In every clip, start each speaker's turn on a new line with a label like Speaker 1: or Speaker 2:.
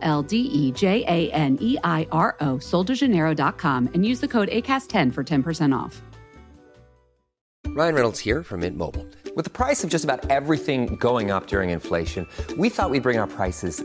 Speaker 1: L D E J A N E I R O, soldejaneiro.com, and use the code ACAST10 for 10% off.
Speaker 2: Ryan Reynolds here from Mint Mobile. With the price of just about everything going up during inflation, we thought we'd bring our prices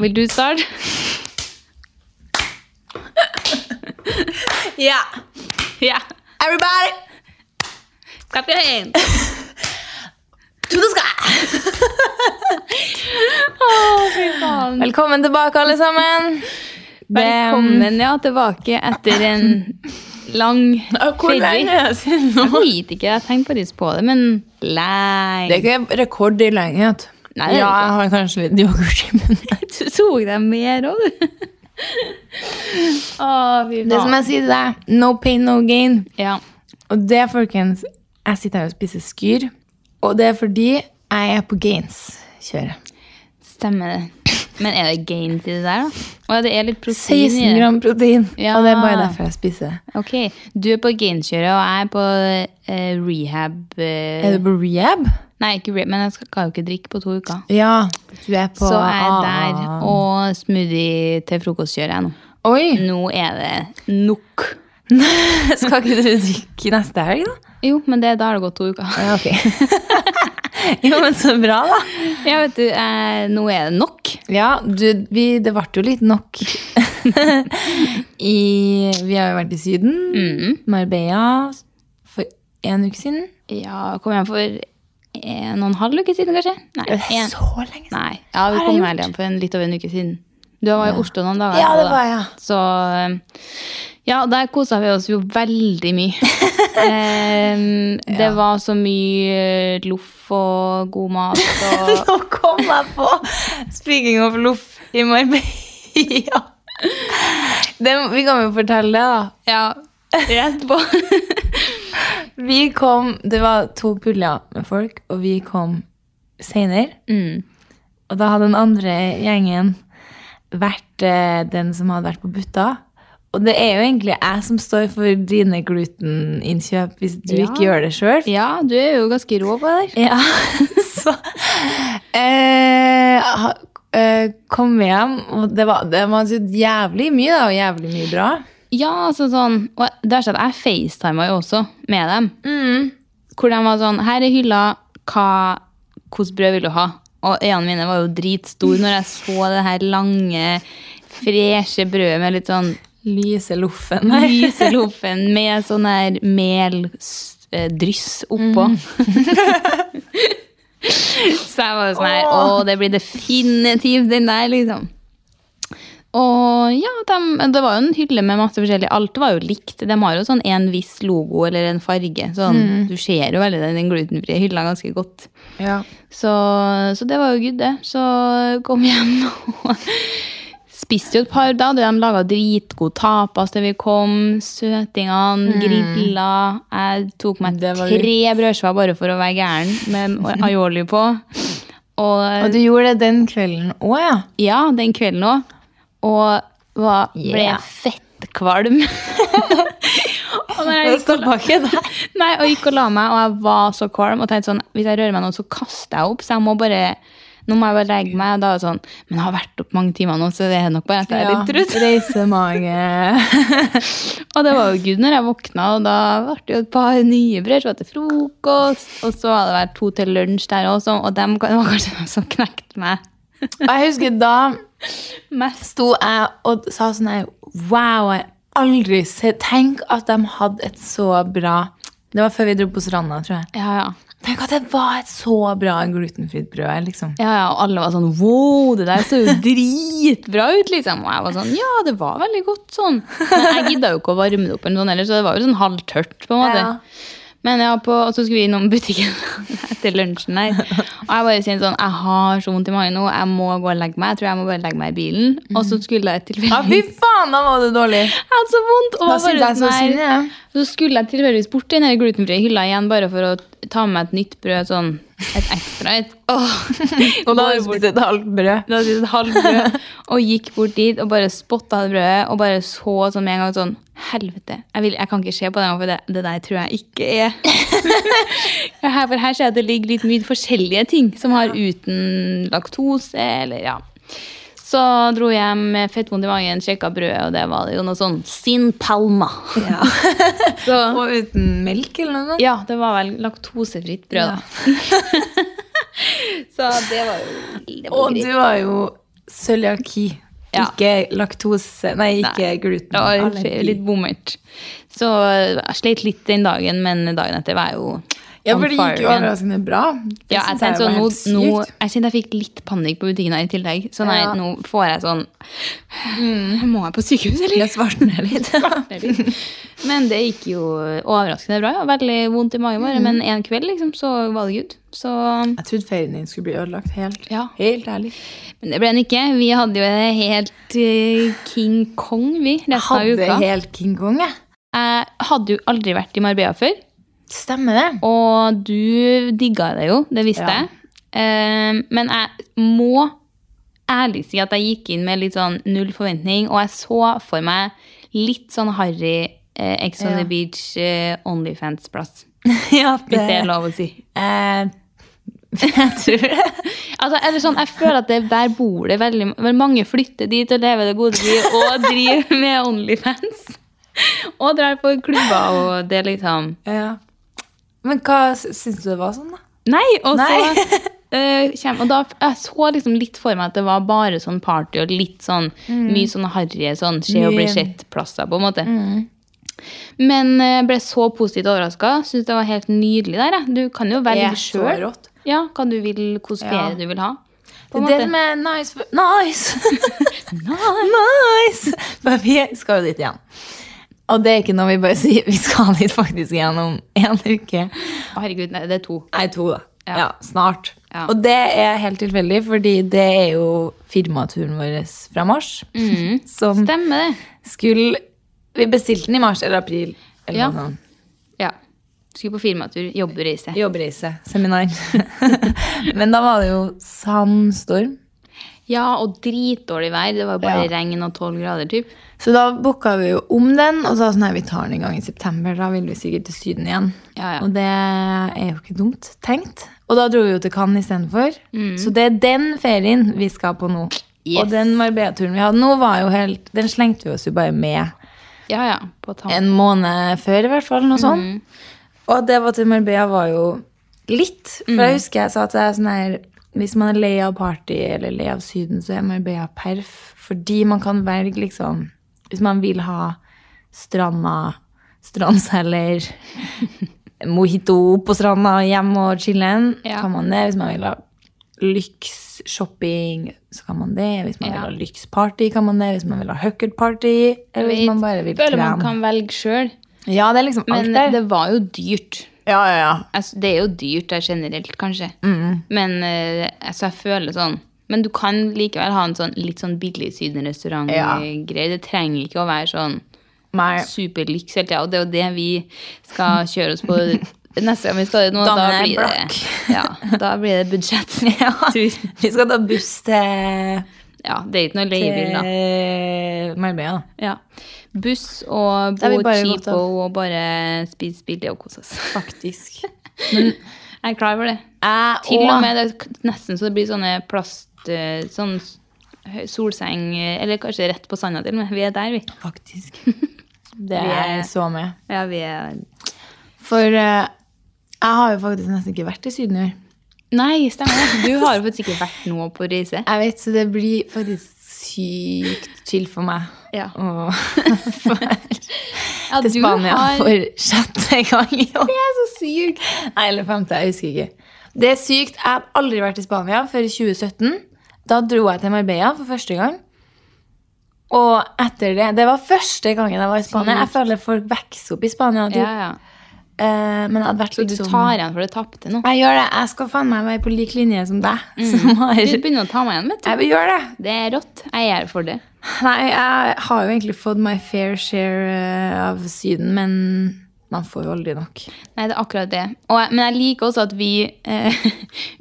Speaker 3: Vil du starte?
Speaker 4: Yeah.
Speaker 3: ja.
Speaker 4: Everybody
Speaker 3: Kaffein!
Speaker 4: to the sky! Velkommen tilbake, alle sammen.
Speaker 3: Velkommen ja, tilbake etter en lang ferie.
Speaker 4: det siden
Speaker 3: Jeg vet ikke, jeg tenkte faktisk på det, men
Speaker 4: Det
Speaker 3: lei.
Speaker 4: er ikke rekord i lenghet.
Speaker 3: Nei, det er det
Speaker 4: ja,
Speaker 3: ikke.
Speaker 4: jeg har kanskje litt yoghurt i munnen.
Speaker 3: Du tok deg mer òg, du. Å, fy
Speaker 4: Det som
Speaker 3: faen.
Speaker 4: jeg sier til deg, no pain, no gain.
Speaker 3: Ja.
Speaker 4: Og det, folkens, jeg sitter her og spiser skyr. Og det er fordi jeg er på gains-kjøret.
Speaker 3: Stemmer det. Men er det gains i det der, da? Å, ja, det er litt protein i det.
Speaker 4: 16 gram protein.
Speaker 3: Ja.
Speaker 4: Og det er bare derfor jeg spiser. det.
Speaker 3: Ok, du er på gainskjøret, og jeg er på eh, rehab eh,
Speaker 4: Er du på rehab?
Speaker 3: Nei, ikke rehab, men jeg skal, skal jo ikke drikke på to uker.
Speaker 4: Ja, du er på
Speaker 3: Så jeg er der,
Speaker 4: Ah.
Speaker 3: og smoothie til frokostkjøret jeg nå.
Speaker 4: Oi!
Speaker 3: Nå er det nok.
Speaker 4: Skal ikke du drikke neste helg, da?
Speaker 3: Jo, men det, da har det gått to uker.
Speaker 4: Ja, ok. jo, men så bra, da.
Speaker 3: Ja, vet du, eh, nå er det nok.
Speaker 4: Ja, du, vi, det ble jo litt nok. I, vi har jo vært i Syden, Mm. Marbella, for en uke siden.
Speaker 3: Ja, kom hjem for en og en halv uke siden, kanskje? Nei,
Speaker 4: Det er
Speaker 3: en.
Speaker 4: så lenge siden.
Speaker 3: Nei. Ja,
Speaker 4: Hva
Speaker 3: vi
Speaker 4: har
Speaker 3: kom
Speaker 4: jeg
Speaker 3: vel hjem for en, litt over en uke siden. Du var i Oslo noen dager.
Speaker 4: Ja,
Speaker 3: etterpå,
Speaker 4: det
Speaker 3: da.
Speaker 4: var jeg.
Speaker 3: Så ehm, ja, der kosa vi oss jo veldig mye. Em, det var så mye eh, loff og god mat og
Speaker 4: Nå kom jeg på speaking of loff i Marbella. Det, vi kan jo fortelle det, da.
Speaker 3: Ja, rett på.
Speaker 4: Vi kom, det var to puljer med folk, og vi kom senere.
Speaker 3: Mm.
Speaker 4: Og da hadde den andre gjengen vært eh, den som hadde vært på butta. Og det er jo egentlig jeg som står for dine gluteninnkjøp, hvis du
Speaker 3: Ja.
Speaker 4: ikke gjør det sjøl.
Speaker 3: Ja, du er jo ganske rå på det der.
Speaker 4: Ja, så eh, ha- eh, kom vi hjem, og det var, det var så jævlig mye, da, og jævlig mye bra.
Speaker 3: Ja, altså sånn Og det har skjedd, jeg facetima jo også med dem. Hvor de var sånn Her er hylla. Hva, hvordan brød vil du ha? Og øynene mine var jo dritstore når jeg så det her lange, freshe brødet med litt sånn
Speaker 4: Lyse loffen.
Speaker 3: lys i loffen med sånn her meldryss oppå. så jeg var sånn her Å, det blir definitivt den der, liksom. Og ja, dem- det var jo en hylle med masse forskjellig. Alt var jo likt. De har jo sånn en viss logo eller en farge. Sånn, Du ser jo veldig den- den glutenfrie hylla ganske godt.
Speaker 4: Ja.
Speaker 3: Så, så det var jo good, det. Så kom jeg hjem og spiste jo et par. Da hadde de laga dritgod tapas til vi kom. Søtingene, grilla. Jeg tok meg
Speaker 4: Mm. Det var
Speaker 3: tre brødskiver bare for å være gæren med aioli på. Og
Speaker 4: Og du gjorde det den kvelden òg, ja?
Speaker 3: ja, den kvelden òg. Og var, ble
Speaker 4: Yeah.
Speaker 3: fettkvalm. og når jeg gikk og la- Nei, og gikk og la meg, og jeg var så kvalm. Og tenkte sånn, hvis jeg rører meg nå, så kaster jeg opp. Så jeg må bare nå må jeg bare legge meg. Og da er det sånn, Men jeg har vært opp mange timer nå, så det er nok bare at jeg er litt trøtt.
Speaker 4: Reisemage.
Speaker 3: Og det var jo gud når jeg våkna, og da ble det jo et par nye brød så var det til frokost. Og så hadde det vært to til lunsj der også, og dem kan- det var kanskje de som knekte meg.
Speaker 4: Og jeg husker da
Speaker 3: Mest
Speaker 4: sto jeg og sa sånn her Wow, jeg har aldri sett Tenk at de hadde et så bra Det var før vi dro på stranda, tror jeg.
Speaker 3: Ja, ja.
Speaker 4: Tenk at det var et så bra glutenfritt brød her, liksom.
Speaker 3: Ja, ja, og alle var sånn Wow, det der så jo dritbra ut, liksom. Og jeg var sånn Ja, det var veldig godt sånn. Men jeg gidda jo ikke å varme det opp, eller noe sånt, ellers, så det var jo sånn halvtørt, på en måte.
Speaker 4: Ja.
Speaker 3: Men ja, på, og så skulle vi innom butikken etter lunsjen der. Og jeg bare sier sånn Jeg har så vondt i magen nå, jeg må gå og legge meg. Jeg tror jeg må bare legge meg i bilen. Og så skulle jeg
Speaker 4: Mhm. Ja, fy
Speaker 3: tilfeldigvis
Speaker 4: faen, da var det dårlig!
Speaker 3: Jeg hadde så vondt.
Speaker 4: Da
Speaker 3: Og var
Speaker 4: synes
Speaker 3: bare
Speaker 4: jeg så
Speaker 3: sånn
Speaker 4: synd,
Speaker 3: her-
Speaker 4: ja.
Speaker 3: så skulle jeg tilfeldigvis bort til den her glutenfrie hylla igjen bare for å ta med meg et nytt brød, sånn et ekstra et. Åh.
Speaker 4: Og da
Speaker 3: Går
Speaker 4: hadde du
Speaker 3: bort-
Speaker 4: spist et halvt brød.
Speaker 3: da hadde jeg spist et halvt brød og gikk bort dit og bare spotta det brødet og bare så sånn med en gang sånn Helvete, jeg, vil, jeg kan ikke se på det, for det, det der tror jeg ikke er Ja, her, For her ser jeg at det ligger litt mye forskjellige ting som har uten laktose eller ja. Så dro jeg hjem med fettvondt i magen, sjekka brødet, og det var jo noe sånn Sin Palma. så,
Speaker 4: Og uten melk eller noe sånt.
Speaker 3: ja, det var vel laktosefritt brød, da. så det var jo det var
Speaker 4: Og
Speaker 3: greit.
Speaker 4: du har jo cøliaki.
Speaker 3: Ja.
Speaker 4: Ikke laktose Nei, ikke gluten.
Speaker 3: Det var
Speaker 4: Allergi.
Speaker 3: litt- litt bommert. Så eh, jeg slet litt den dagen, men dagen etter var jeg jo
Speaker 4: Ja,
Speaker 3: on
Speaker 4: for det
Speaker 3: fire
Speaker 4: gikk jo
Speaker 3: igjen.
Speaker 4: overraskende bra. Det
Speaker 3: Ja, jeg
Speaker 4: synes
Speaker 3: tenkte sånn,
Speaker 4: var
Speaker 3: nå,
Speaker 4: helt
Speaker 3: nå,
Speaker 4: sykt.
Speaker 3: jeg kjente jeg fikk litt panikk på butikken her i tillegg. Så nei,
Speaker 4: Ja. Mm.
Speaker 3: nå får jeg sånn Må jeg på sykehus, eller?
Speaker 4: Jeg svartner litt.
Speaker 3: Men det gikk jo overraskende bra. Ja. Veldig vondt i magen
Speaker 4: Mm.
Speaker 3: bare, men en kveld liksom, så var det good. Så,
Speaker 4: Jeg trodde ferien din skulle bli ødelagt helt.
Speaker 3: Ja.
Speaker 4: Helt ærlig.
Speaker 3: men det ble den ikke. Vi hadde jo en helt eh, King Kong, vi,
Speaker 4: Jeg
Speaker 3: resten av
Speaker 4: hadde
Speaker 3: uka.
Speaker 4: helt King Kong, jeg.
Speaker 3: Jeg hadde jo aldri vært i Marbella før.
Speaker 4: Stemmer det?
Speaker 3: Og du digga det jo, det visste
Speaker 4: Ja.
Speaker 3: jeg. Ehm, men jeg må ærlig si at jeg gikk inn med litt sånn null forventning, og jeg så for meg litt sånn harry eh, Ex on
Speaker 4: Ja.
Speaker 3: the Beach, eh, Onlyfans-plass.
Speaker 4: ja,
Speaker 3: Hvis det er lov å si.
Speaker 4: Eh,
Speaker 3: Altså, eller sånn, jeg føler at det, der bor det veldig vel, Mange flytter dit og lever det gode liv og driver med Onlyfans. Og drar på klubber, og det er liksom
Speaker 4: ja. Men hva sy- syns du det var sånn, da?
Speaker 3: Nei, og
Speaker 4: Nei.
Speaker 3: så eh, kjem, Og da jeg så liksom litt for meg at det var bare sånn party og litt sånn mye sånn harry sånn skje og
Speaker 4: Mm.
Speaker 3: bli
Speaker 4: Mye- Mm.
Speaker 3: sett-plasser, på en måte. Men eh, ble så positivt overraska. Syns det var helt nydelig der. Jeg. Du kan jo velge
Speaker 4: Det er så
Speaker 3: sjøl.
Speaker 4: rått.
Speaker 3: Ja, hva du vil, hvilken
Speaker 4: Ja.
Speaker 3: ferie du vil ha. På
Speaker 4: Det
Speaker 3: en
Speaker 4: er det
Speaker 3: måte.
Speaker 4: med nice Nice! nice! For vi skal jo dit igjen. Og det er ikke noe vi bare sier. Vi skal dit faktisk igjen om en uke.
Speaker 3: Å, Herregud, nei, det er to.
Speaker 4: Nei, to, da.
Speaker 3: Ja.
Speaker 4: Ja, snart.
Speaker 3: Ja.
Speaker 4: Og det er helt tilfeldig, fordi det er jo firmaturen vår fra mars. Som
Speaker 3: Mhm. Stemmer det.
Speaker 4: skulle Vi bestilte den i mars eller april. Eller
Speaker 3: Ja.
Speaker 4: noe sånt.
Speaker 3: Ja. Skulle på firmatur, jobbreise.
Speaker 4: Jobbreise. Seminar. Men da var det jo sandstorm.
Speaker 3: Ja, og dritdårlig vær. Det var bare
Speaker 4: Ja.
Speaker 3: regn og tolv grader, typ.
Speaker 4: Så da booka vi jo om den, og sa sånn her, vi tar den en gang i september. Da vil vi sikkert til Syden igjen.
Speaker 3: Ja, ja.
Speaker 4: Og det er jo ikke dumt tenkt. Og da dro vi jo til Cannes istedenfor. Så det er den ferien vi skal på nå.
Speaker 3: Mm. Yes.
Speaker 4: Og den Marbella-turen vi hadde nå, var jo helt, den slengte vi oss jo bare med
Speaker 3: Ja, ja. På tampen.
Speaker 4: en måned før, i hvert fall. Noe sånt.
Speaker 3: Mhm.
Speaker 4: Og det var til Marbella var jo litt. For
Speaker 3: Mhm.
Speaker 4: jeg husker jeg sa at det er sånn her Hvis man er lei av party eller lei av Syden, så er Marbella perf. Fordi man kan velge, liksom Hvis man vil ha stranda, strandceller, mojito på stranda, hjem og chillen,
Speaker 3: Ja.
Speaker 4: kan man det. Hvis man vil ha lyks-shopping, så kan man det. Hvis man vil
Speaker 3: Ja.
Speaker 4: ha lyks-party, kan man det. Hvis man vil ha huckert-party, eller hvis man bare vil
Speaker 3: føler man
Speaker 4: krem.
Speaker 3: kan velge sjøl.
Speaker 4: Ja, det er liksom
Speaker 3: Men
Speaker 4: alt der.
Speaker 3: det var jo dyrt.
Speaker 4: ja, ja, ja.
Speaker 3: Altså, det er jo dyrt der generelt, kanskje. Men eh, altså, jeg føler sånn Men du kan likevel ha en sånn litt sånn
Speaker 4: Ja.
Speaker 3: billig sydenrestaurant-greie. Det trenger ikke å være sånn
Speaker 4: Nei.
Speaker 3: superlyks hele tida. Og det er jo det vi skal kjøre oss på neste gang vi skal dit nå. Da
Speaker 4: Dominar
Speaker 3: blir, det,
Speaker 4: Black.
Speaker 3: ja, da blir det budsjett.
Speaker 4: Ja. Vi skal ta buss til,
Speaker 3: Ja, det er ikke noe leiebil, da.
Speaker 4: til Marbella. da.
Speaker 3: Ja. Buss og
Speaker 4: Da har vi
Speaker 3: bo
Speaker 4: bare gått
Speaker 3: cheapo
Speaker 4: av.
Speaker 3: og bare spise billig og kose oss.
Speaker 4: Faktisk.
Speaker 3: Jeg er klar over det.
Speaker 4: Jeg
Speaker 3: Til
Speaker 4: og-
Speaker 3: og med det er k- nesten så det blir sånne plast... eh, Sånn s- hø- solseng eh, Eller kanskje rett på sanda til og med. Vi er der, vi.
Speaker 4: Faktisk. Det er jeg så med.
Speaker 3: Ja, vi er...
Speaker 4: For eh, jeg har jo faktisk nesten ikke vært i Syden i år.
Speaker 3: Nei, stemmer det. Du har jo faktisk ikke vært nå på reise.
Speaker 4: Jeg vet, så det blir faktisk sykt chill for meg.
Speaker 3: Ja.
Speaker 4: Og til
Speaker 3: du
Speaker 4: Spania
Speaker 3: har-
Speaker 4: for sjette gang i år.
Speaker 3: Det er så sykt!
Speaker 4: Nei, eller femte, jeg husker ikke. Det er sykt. Jeg har aldri vært i Spania før i 2017. Da dro jeg til Marbella for første gang. Og etter det Det var første gangen jeg var i Spania. Jeg føler folk vokser opp i Spania. Du,
Speaker 3: Ja, ja.
Speaker 4: eh, men jeg hadde vært
Speaker 3: Så du
Speaker 4: liksom
Speaker 3: tar igjen for det tapte nå?
Speaker 4: Jeg gjør det. Jeg skal faen meg være på lik linje som deg. Som har
Speaker 3: Du Mm. begynner å ta meg igjen, vet du.
Speaker 4: Jeg vil gjøre det.
Speaker 3: Det er rått. Jeg er her for det.
Speaker 4: Nei, jeg har jo egentlig fått my fair share eh, av Syden, men man får jo aldri nok.
Speaker 3: Nei, det er akkurat det. Og, jeg- men jeg liker også at vi eh,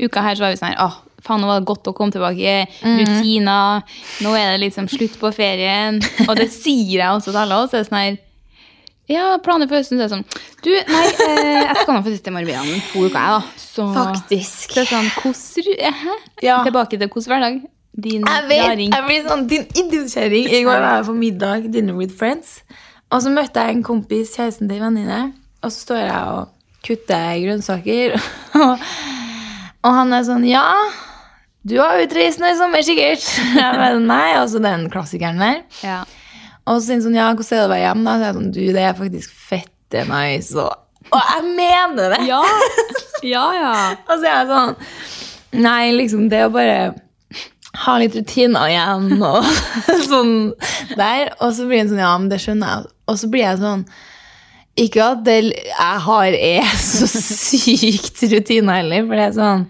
Speaker 3: uka her så var vi sånn her Åh, faen, nå var det godt å komme tilbake.
Speaker 4: Mhm.
Speaker 3: Rutiner. Nå er det liksom slutt på ferien. Og det sier jeg også til alle oss. Det er sånn her Ja, planer for høsten. Så er det sånn Du, nei, eh, jeg skal nå få sitte i Marbella om to uker, jeg, da. Så
Speaker 4: Faktisk.
Speaker 3: Det er sånn hvordan Hæ?
Speaker 4: Ja.
Speaker 3: Tilbake til hvordan hverdag. Din
Speaker 4: Jeg vet,
Speaker 3: raring.
Speaker 4: jeg blir sånn din idiotkjerring. I går var jeg på middag, dinner with friends. Og så møtte jeg en kompis, kjæresten til en venninne. Og så står jeg og kutter grønnsaker. Og, og han er sånn, ja, du har utreist nå i sommer sikkert. Jeg bare, nei, altså den klassikeren der.
Speaker 3: Ja.
Speaker 4: Og så sier han sånn, ja, hvordan er det å være hjemme da? Så er jeg sånn, du, det er faktisk fette nice. Og, og jeg mener det.
Speaker 3: ja. Ja, ja.
Speaker 4: Og så er jeg sånn Nei, liksom det å bare ha litt rutiner igjen og sånn der. Og så blir han sånn Ja, men det skjønner jeg. Og så blir jeg sånn Ikke at det jeg har, er så sykt rutiner heller, for det er sånn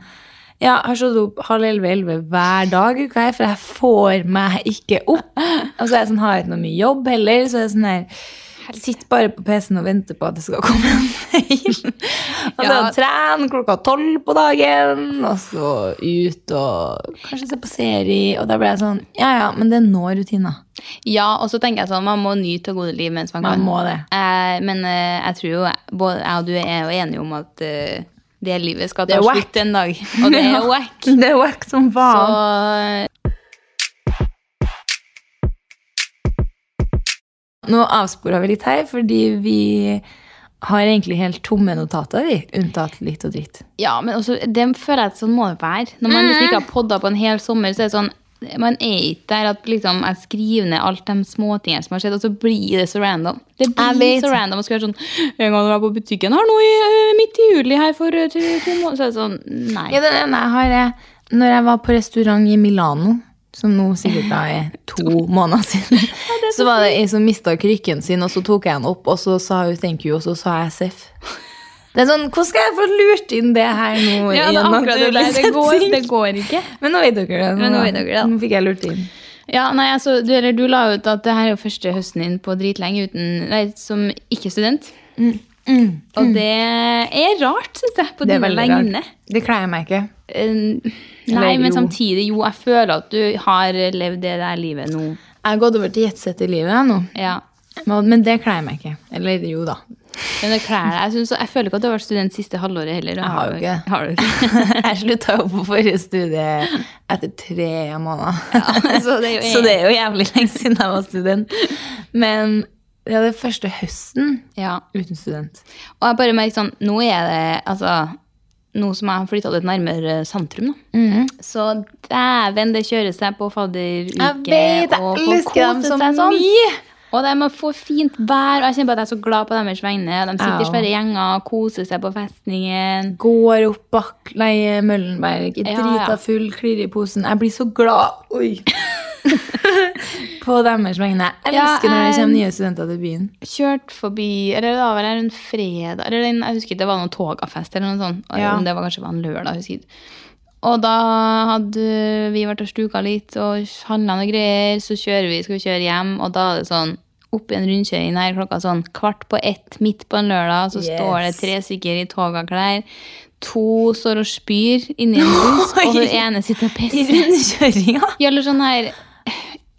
Speaker 4: ja, jeg har stått opp halv elleve-elleve hver dag, uka her, for jeg får meg ikke opp. Og så er jeg sånn, har jeg ikke noe mye jobb heller, så er jeg sånn her, sitter bare på PC-en og venter på at det skal komme en mail. Og så
Speaker 3: Ja.
Speaker 4: tren klokka tolv på dagen, og så ut og kanskje se på serie, og da ble jeg sånn, ja, ja, men det er nå rutiner.
Speaker 3: Ja, og så tenker jeg sånn, man må nyte det gode liv mens man,
Speaker 4: Man
Speaker 3: kan.
Speaker 4: må det.
Speaker 3: Eh, men eh, jeg tror jo både jeg og du er jo enige om at eh, det livet skal
Speaker 4: Det
Speaker 3: ta
Speaker 4: er whack.
Speaker 3: slutt en dag. Og det er whack.
Speaker 4: Det er wack som
Speaker 3: Så
Speaker 4: faen. Nå avsporer vi litt her, fordi vi har egentlig helt tomme notater, vi, unntatt litt og dritt.
Speaker 3: ja, men også, det føler jeg at sånn må det være. Når man liksom ikke har podda på en hel sommer, så er det sånn man er ikke der at liksom, jeg skriver ned alt de småtingene som har skjedd, og så blir det så random. Det
Speaker 4: Jeg
Speaker 3: blir
Speaker 4: vet.
Speaker 3: så random å skulle være sånn En gang jeg var på butikken her nå i eh, midt i juli her for eh, to, to måneder Så er det sånn Nei.
Speaker 4: Ja, den ene jeg har eh, Når jeg var på restaurant i Milano, som nå sikkert da er to måneder siden, så var det ei som mista krykken sin, og så tok jeg den opp, og så sa hun thank you, og så sa jeg seff. Det er sånn, Hvordan skal jeg få lurt inn det her nå?
Speaker 3: Ja,
Speaker 4: i
Speaker 3: det er
Speaker 4: en
Speaker 3: akkurat altså. det
Speaker 4: naturlig
Speaker 3: der. Det går,
Speaker 4: setting?
Speaker 3: det går ikke.
Speaker 4: Men nå vet dere det.
Speaker 3: Men nå vet dere det.
Speaker 4: Nå fikk jeg lurt det inn.
Speaker 3: Ja, nei, altså, du, eller, du la ut at det her er jo første høsten din på dritlenge uten, nei, som ikke-student. Og det er rart, syns jeg,
Speaker 4: Mm, Det er
Speaker 3: på dine
Speaker 4: veldig
Speaker 3: vegne.
Speaker 4: rart. Det kler jeg meg ikke.
Speaker 3: Eh, Nei,
Speaker 4: Eller
Speaker 3: men
Speaker 4: jo.
Speaker 3: samtidig, jo, jeg føler at du har levd det der livet nå.
Speaker 4: Jeg har gått over til jetsett i livet jeg, nå.
Speaker 3: Ja.
Speaker 4: Men men det kler jeg meg ikke. Eller jo da.
Speaker 3: Men det klær deg. Jeg, synes, jeg føler ikke at du har vært student siste halvåret heller.
Speaker 4: Jeg har jo ikke.
Speaker 3: Har du ikke?
Speaker 4: Jeg slutta jo på forrige studie etter tre måneder.
Speaker 3: så det er jo-
Speaker 4: Så det er jo jævlig lenge siden jeg var student. Men ja, det er første høsten
Speaker 3: Ja.
Speaker 4: uten student.
Speaker 3: Og jeg bare merker sånn, nå er det altså, nå som jeg har flytta litt nærmere sentrum, da. Så dæven, det kjører seg på fadderuke. og folk koser seg sånn. Og de får fint vær, og jeg kjenner bare at jeg er så glad på deres vegne. De sitter i
Speaker 4: Ja.
Speaker 3: svære gjenger og koser seg på festningen.
Speaker 4: Går opp bak nei, Møllenberg,
Speaker 3: Ja,
Speaker 4: drita
Speaker 3: ja.
Speaker 4: full, klirrer i posen. Jeg blir så glad Oi. på deres vegne. Jeg
Speaker 3: Ja,
Speaker 4: elsker når det
Speaker 3: jeg-
Speaker 4: kommer nye studenter til byen.
Speaker 3: Kjørt forbi Eller da var det en fredag eller en, Jeg husker ikke, det var noen togafest eller noe sånt.
Speaker 4: Ja.
Speaker 3: Om det var kanskje var en lørdag. jeg husker ikke. Og da hadde vi vært og stuka litt og handla noen greier. Så kjører vi, skal vi kjøre hjem, og da er det sånn opp i en rundkjøring her klokka sånn kvart på ett midt på en lørdag. Så
Speaker 4: Yes.
Speaker 3: står det tre stykker i togaklær. To står og spyr inni en buss, og den ene sitter og
Speaker 4: I
Speaker 3: pisser.
Speaker 4: rundkjøringa.
Speaker 3: Ja, eller sånn her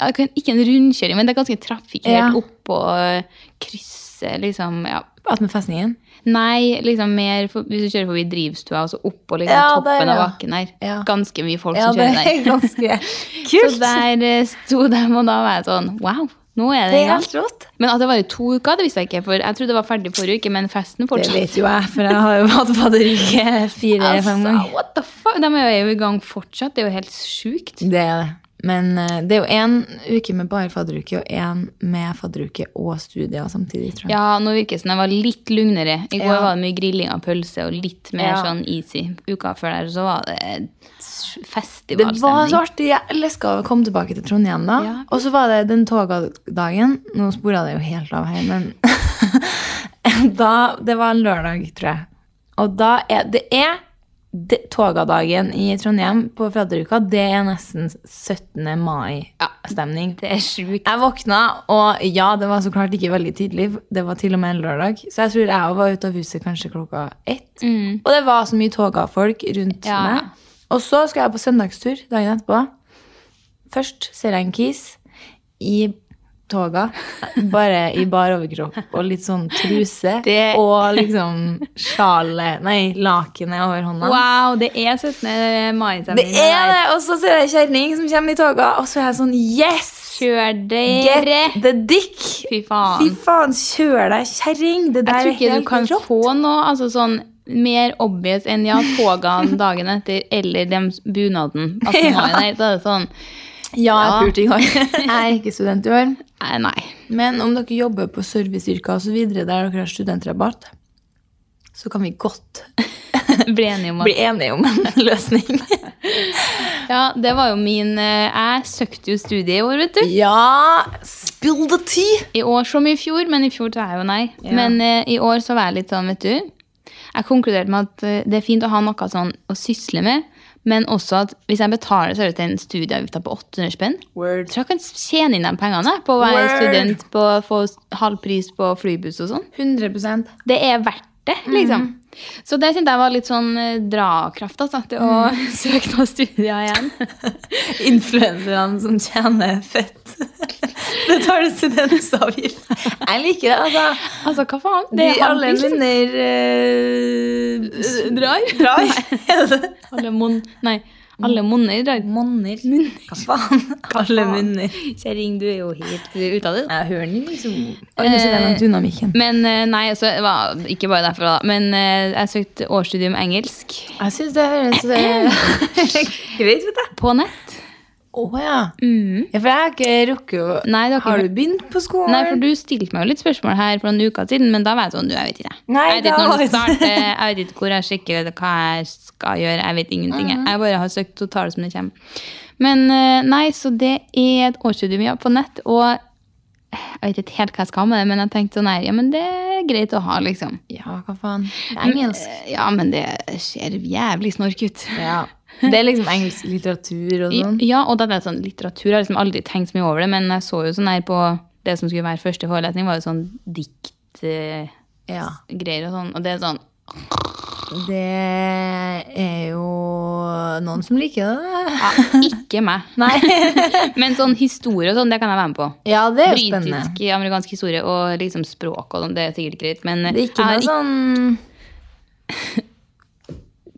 Speaker 3: ja, det kan- Ikke en rundkjøring, men det er ganske trafikkert
Speaker 4: Ja.
Speaker 3: oppå krysset, liksom. Ja.
Speaker 4: Attmed festningen.
Speaker 3: Nei, liksom mer for, hvis du kjører forbi drivstua, og så opp på liksom,
Speaker 4: Ja,
Speaker 3: toppen
Speaker 4: der, ja.
Speaker 3: av bakken her.
Speaker 4: Ja.
Speaker 3: Ganske mye folk
Speaker 4: Ja,
Speaker 3: som
Speaker 4: det
Speaker 3: kjører
Speaker 4: er
Speaker 3: der.
Speaker 4: ganske
Speaker 3: Så
Speaker 4: kult.
Speaker 3: der eh, sto de, og da var jeg sånn Wow, nå er det
Speaker 4: Det er
Speaker 3: i gang.
Speaker 4: helt rått.
Speaker 3: Men at det var i to uker, det visste jeg ikke. For jeg trodde det var ferdig forrige uke, men festen
Speaker 4: Det
Speaker 3: fortsatte.
Speaker 4: vet jo jeg, for jeg har jo hatt fadderuke fire-fem
Speaker 3: Altså,
Speaker 4: ganger.
Speaker 3: what the fuck? De er jo i gang fortsatt. Det er jo helt sjukt.
Speaker 4: Det er det. Men eh, det er jo én uke med bare fadderuke og én med fadderuke og studier samtidig, tror jeg.
Speaker 3: Ja, nå virker det som jeg var litt lugnere. I går
Speaker 4: Ja.
Speaker 3: var det mye grilling av pølse og litt mer
Speaker 4: Ja.
Speaker 3: sånn easy. Uka før der så var det
Speaker 4: Det var så
Speaker 3: festivalstemning.
Speaker 4: artig. Jeg elska å komme tilbake til Trondheim da.
Speaker 3: Ja.
Speaker 4: Og så var det den togdagen. Nå spora det jo helt av her, men da, Det var en lørdag, tror jeg. Og da er Det er det, togadagen i Trondheim på fadderuka. Det er nesten 17. mai-stemning.
Speaker 3: Det er sjukt.
Speaker 4: Jeg våkna, og ja, det var så klart ikke veldig tidlig. Det var til og med en lørdag. Så jeg tror jeg også var ute av huset kanskje klokka ett. Og det var så mye toga folk rundt
Speaker 3: Mm. Ja.
Speaker 4: meg. Og så skal jeg på søndagstur dagen etterpå. Først ser jeg en kis i toga. Bare i bar overkropp og litt sånn truse.
Speaker 3: Det-
Speaker 4: Og liksom sjalet Nei, lakenet over hånda.
Speaker 3: Wow, det er 17.
Speaker 4: Det
Speaker 3: mai-stemning.
Speaker 4: er det! Og så ser jeg ei kjerring som kommer i toga, og så er jeg sånn Yes!
Speaker 3: Kjør dere!
Speaker 4: Get the dick!
Speaker 3: Fy faen.
Speaker 4: Fy faen, kjør deg, kjerring! Det
Speaker 3: Jeg
Speaker 4: der
Speaker 3: tror
Speaker 4: er
Speaker 3: ikke du
Speaker 4: helt
Speaker 3: kan
Speaker 4: rått.
Speaker 3: få noe altså sånn mer obvious enn ja, togene dagen etter eller den bunaden. 18. mai. Nei, da er det sånn
Speaker 4: Ja,
Speaker 3: Ja.
Speaker 4: jeg pulte i går. Jeg er ikke student i år.
Speaker 3: eh, Nei.
Speaker 4: Men om dere jobber på serviceyrker osv., der dere har studentrabatt, så kan vi godt
Speaker 3: Bli enige om at
Speaker 4: bli enige om en løsning.
Speaker 3: Ja, det var jo min eh, Jeg søkte jo studie i år, vet du.
Speaker 4: ja! Spill the tea!
Speaker 3: I år som i fjor, men i fjor sa jeg jo nei. Men eh, i år så var jeg litt sånn, vet du. Jeg konkluderte med at eh, det er fint å ha noe sånn å sysle med, men også at hvis jeg betaler så er det til en studieavgift på 800 spenn. Jeg
Speaker 4: Word.
Speaker 3: tror jeg kan tjene inn de pengene jeg, på å være
Speaker 4: Word.
Speaker 3: student, på å få s- halv pris på flybuss og sånn.
Speaker 4: 100
Speaker 3: Det er verdt det,
Speaker 4: Mm.
Speaker 3: liksom. Så det syntes jeg var litt sånn eh, drakraft, altså, til å
Speaker 4: Mm.
Speaker 3: søke noen studier igjen.
Speaker 4: Influenserne som tjener fett. Betaler studentavgift. Jeg liker det, altså.
Speaker 3: Altså, hva faen?
Speaker 4: De
Speaker 3: Det er halv
Speaker 4: alle
Speaker 3: pris, liksom.
Speaker 4: minner eh,
Speaker 3: Drar?
Speaker 4: Drar?
Speaker 3: Alle mon... Nei, alle monner drar.
Speaker 4: Monner. Hva faen? Alle munner.
Speaker 3: Kjerring, du er jo helt ute av det. da.
Speaker 4: Jeg hører den liksom
Speaker 3: Eh,
Speaker 4: dynamikken.
Speaker 3: Men eh, nei, altså, det var ikke bare derfor, da. Men eh, jeg søkte årsstudium engelsk
Speaker 4: Jeg syns det høres greit ut, jeg.
Speaker 3: på nett.
Speaker 4: Å ja. ja. For jeg har ikke rukket å
Speaker 3: Mm. Nei, det har ikke-
Speaker 4: Har du begynt på skolen?
Speaker 3: Nei, for du stilte meg jo litt spørsmål her for noen uker siden, men da var jeg sånn, du, jeg vet ikke.
Speaker 4: Nei,
Speaker 3: jeg vet
Speaker 4: da
Speaker 3: ikke
Speaker 4: var
Speaker 3: når
Speaker 4: det-
Speaker 3: det starter, jeg vet ikke hvor jeg sjekker eller hva jeg skal gjøre, jeg vet ingenting. Jeg bare har søkt og tar det som det kommer. Men eh, nei, så det er et årsstudium ja, på nett, og jeg vet ikke helt hva jeg skal med det, men jeg tenkte sånn her, ja, men det er greit å ha, liksom. Eh,
Speaker 4: Ja, hva faen. Det er engelsk.
Speaker 3: Ja, men det ser jævlig snork ut.
Speaker 4: Ja. Det er liksom engelsk litteratur og sånn.
Speaker 3: Ja, og da ble det sånn litteratur. Jeg har liksom aldri tenkt så mye over det, men jeg så jo sånn her på det som skulle være første forelesning, var jo sånn dikt eh,
Speaker 4: Ja.
Speaker 3: greier og sånn. Og det er sånn
Speaker 4: Det er jo noen som liker det.
Speaker 3: ja, Ikke meg. Men sånn historie og sånn, det kan jeg være med på.
Speaker 4: Ja, det er jo spennende.
Speaker 3: Britisk, amerikansk historie og liksom språk og sånn, det er sikkert greit. Men
Speaker 4: Det er ikke noe
Speaker 3: jeg har
Speaker 4: sånn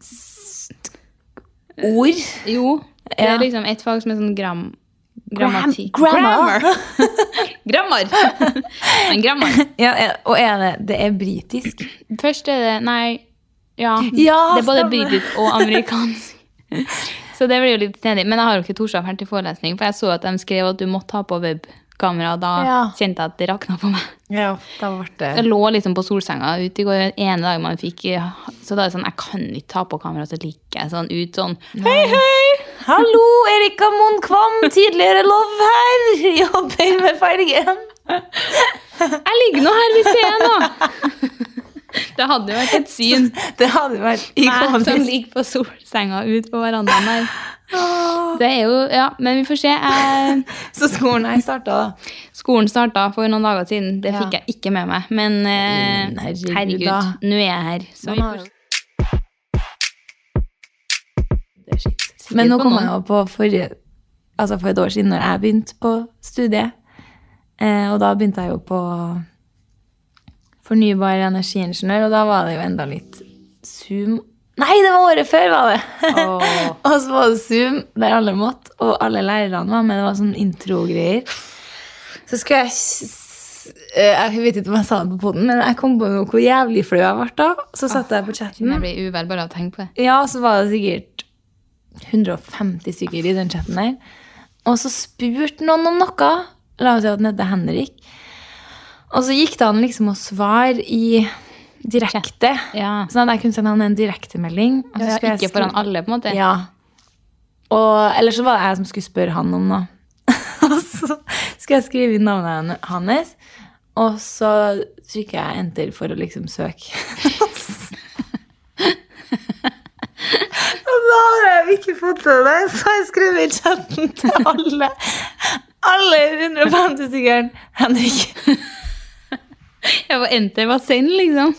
Speaker 4: sånn Ord.
Speaker 3: ikke- Jo. Det
Speaker 4: Ja.
Speaker 3: er liksom et fag som er sånn gram...
Speaker 4: Gram-
Speaker 3: Grammatikk.
Speaker 4: grammar.
Speaker 3: Grammar! Men grammar.
Speaker 4: Ja, er- og er det, det er britisk.
Speaker 3: Først er det Nei, ja.
Speaker 4: Ja,
Speaker 3: det er
Speaker 4: stemmer.
Speaker 3: både britisk og amerikansk. Så det blir jo litt snedig. Men jeg har jo ikke Torshov her til forelesning, for jeg så at de skrev at du måtte ha på webkamera. og Da
Speaker 4: Ja.
Speaker 3: kjente jeg at det rakna på meg.
Speaker 4: Ja, da ble
Speaker 3: Jeg
Speaker 4: det
Speaker 3: lå liksom på solsenga ute i går den ene dagen man fikk ja, Så da er det sånn Jeg kan ikke ta på kamera, så ligger jeg sånn ut sånn Hei, hei!
Speaker 4: Hallo, Erika Monkvam, tidligere love her! Jobber med fargen.
Speaker 3: Jeg ligger nå her ved scenen, nå! Det hadde jo vært et syn.
Speaker 4: Det hadde vært
Speaker 3: Meg som
Speaker 4: ikonisk.
Speaker 3: ligger på solsenga ute på verandaen der. Det er jo Ja, men vi får se. Jeg,
Speaker 4: Så skolen jeg starta, da.
Speaker 3: skolen starta for noen dager siden. Det fikk
Speaker 4: Ja.
Speaker 3: jeg ikke med meg. Men eh,
Speaker 4: Mm, herregud,
Speaker 3: herregud,
Speaker 4: da.
Speaker 3: nå er jeg her. Så vi
Speaker 4: Man har
Speaker 3: får
Speaker 4: jo-
Speaker 3: se.
Speaker 4: Men nå
Speaker 3: på
Speaker 4: kom
Speaker 3: noen.
Speaker 4: jeg jo på forrige Altså for et år siden, når jeg begynte på studiet. Eh, og da begynte jeg jo på fornybar energiingeniør, og da var det jo enda litt Zoom. Nei, det var året før, var det! og så var det Zoom, der alle måtte, og alle lærerne var med. Det var sånn intro-greier. Så skulle jeg s- eh, Jeg vet ikke om jeg sa det på poden, men jeg kom på noe hvor jævlig flau jeg ble da. Så satt jeg på chatten.
Speaker 3: Jeg blir uvel bare av å tenke på det.
Speaker 4: Ja, så var det sikkert 150 stykker i den chatten der. Og så spurte noen om noe. La oss si at den heter Henrik. Og så gikk det an liksom å svare i direkte.
Speaker 3: Ja.
Speaker 4: Sånn at jeg kunne sende han en direktemelding. og så
Speaker 3: Ja,
Speaker 4: skulle jeg
Speaker 3: ikke
Speaker 4: skrive-
Speaker 3: foran alle, på en måte.
Speaker 4: Ja. Og, eller så var det jeg som skulle spørre han om noe. Og så skulle jeg skrive inn navnet hen- hans, og så trykker jeg enter for å liksom søke. og da har jeg ikke fått til det, så har jeg skrevet i chatten til alle. Alle 150 stykker. Henrik.
Speaker 3: Jeg var endte i basseng, liksom.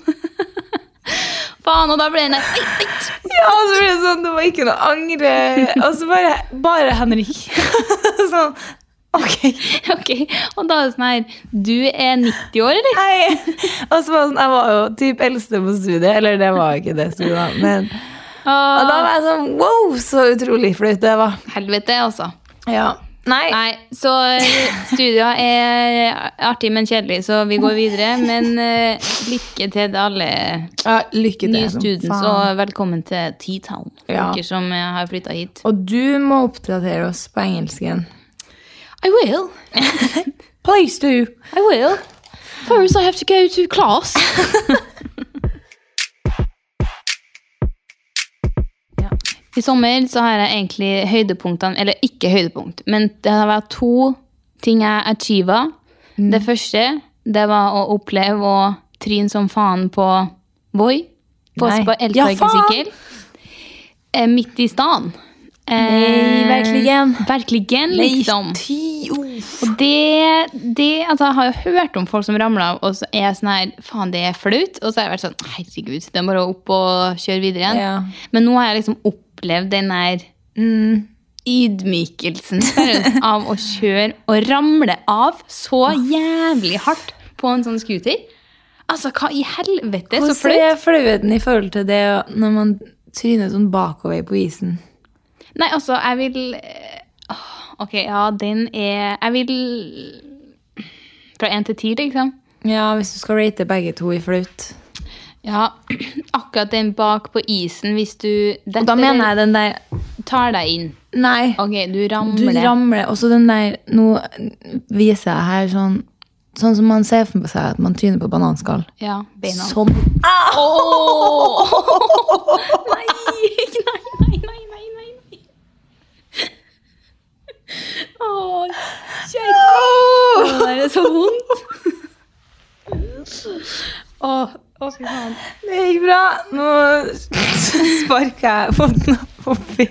Speaker 3: Faen, og da ble den der Oi, oi.
Speaker 4: Ja, og så ble det sånn, det var ikke noe angre. Og så bare, bare Henrik. sånn, ok.
Speaker 3: Ok, og da er det sånn her Du er 90 år, eller?
Speaker 4: Hei! Og så var det sånn, jeg var jo typ eldste på studiet, eller det var jo ikke det studiet, da, men Og da var jeg sånn wow, så utrolig flaut det var.
Speaker 3: Helvete, altså.
Speaker 4: Ja. Nei.
Speaker 3: Nei, så eh, studier er artig, men kjedelig, så vi går videre. Men eh, lykke til alle
Speaker 4: Ja, lykke til.
Speaker 3: nye
Speaker 4: som
Speaker 3: students,
Speaker 4: faen.
Speaker 3: og velkommen til T-Town. For
Speaker 4: Ja.
Speaker 3: dere som eh, har flytta hit.
Speaker 4: Og du må oppdatere oss på engelsken.
Speaker 3: I will.
Speaker 4: Please do.
Speaker 3: I will. First I have to go to class. I sommer så har jeg egentlig høydepunktene, eller ikke høydepunkt, men det har vært to ting jeg achieva. Det første, det var å oppleve å tryne som faen på Voi. På
Speaker 4: Nei.
Speaker 3: på
Speaker 4: Ja,
Speaker 3: elsparkesykkel. Eh, midt i staden.
Speaker 4: Nei, verkligen.
Speaker 3: Virkeligen, liksom.
Speaker 4: Ti uff.
Speaker 3: Og det, det altså, Jeg har jo hørt om folk som ramler av, og så er jeg sånn her Faen, det er flaut. Og så har jeg vært sånn Herregud, det er bare opp og kjøre videre igjen.
Speaker 4: Ja.
Speaker 3: Men nå har jeg liksom opplevd den der
Speaker 4: Mm.
Speaker 3: ydmykelsen seriøst, av å kjøre og ramle av så jævlig hardt på en sånn scooter. Altså, hva i helvete? Så
Speaker 4: Hvordan
Speaker 3: flaut.
Speaker 4: er flauheten i forhold til det når man tryner sånn bakover på isen?
Speaker 3: Nei, altså, jeg vil Åh, Ok, ja, den er Jeg vil Fra én til ti, liksom.
Speaker 4: Ja, hvis du skal rate begge to i flaut.
Speaker 3: Ja, akkurat den bak på isen hvis du
Speaker 4: Og da mener jeg den der
Speaker 3: tar deg inn.
Speaker 4: Nei.
Speaker 3: Ok, du
Speaker 4: Du
Speaker 3: ramler.
Speaker 4: ramler, og så den der Nå viser jeg her sånn Sånn som man ser for seg at man tryner på bananskall.
Speaker 3: ja, beina.
Speaker 4: Sånn.
Speaker 3: Nei, nei, nei, nei, nei, nei, nei. Åh, kjære. Det der er så vondt. Åh, åh, fy faen.
Speaker 4: Det gikk bra. Nå sparker jeg foten oppi.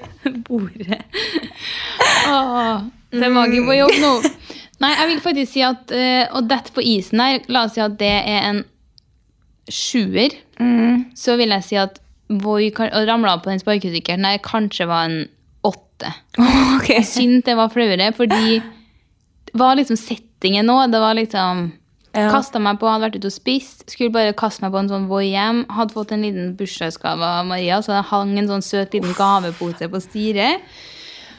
Speaker 3: bordet. Åh, det er
Speaker 4: Mm.
Speaker 3: magen på jobb nå. Nei, jeg vil faktisk si at eh, å dette på isen der, la oss si at det er en sjuer, så vil jeg si at Voi kan- å ramle av på den sparkesykkelen der kanskje var en åtte. Jeg Synd det var flauere, fordi det var liksom settingen nå. Det var liksom
Speaker 4: Ja.
Speaker 3: Kasta meg på, hadde vært ute og spist. Skulle bare kaste meg på en sånn Voi hjem. Hadde fått en liten bursdagsgave av Maria, så det hang en sånn søt liten gavepose på styret.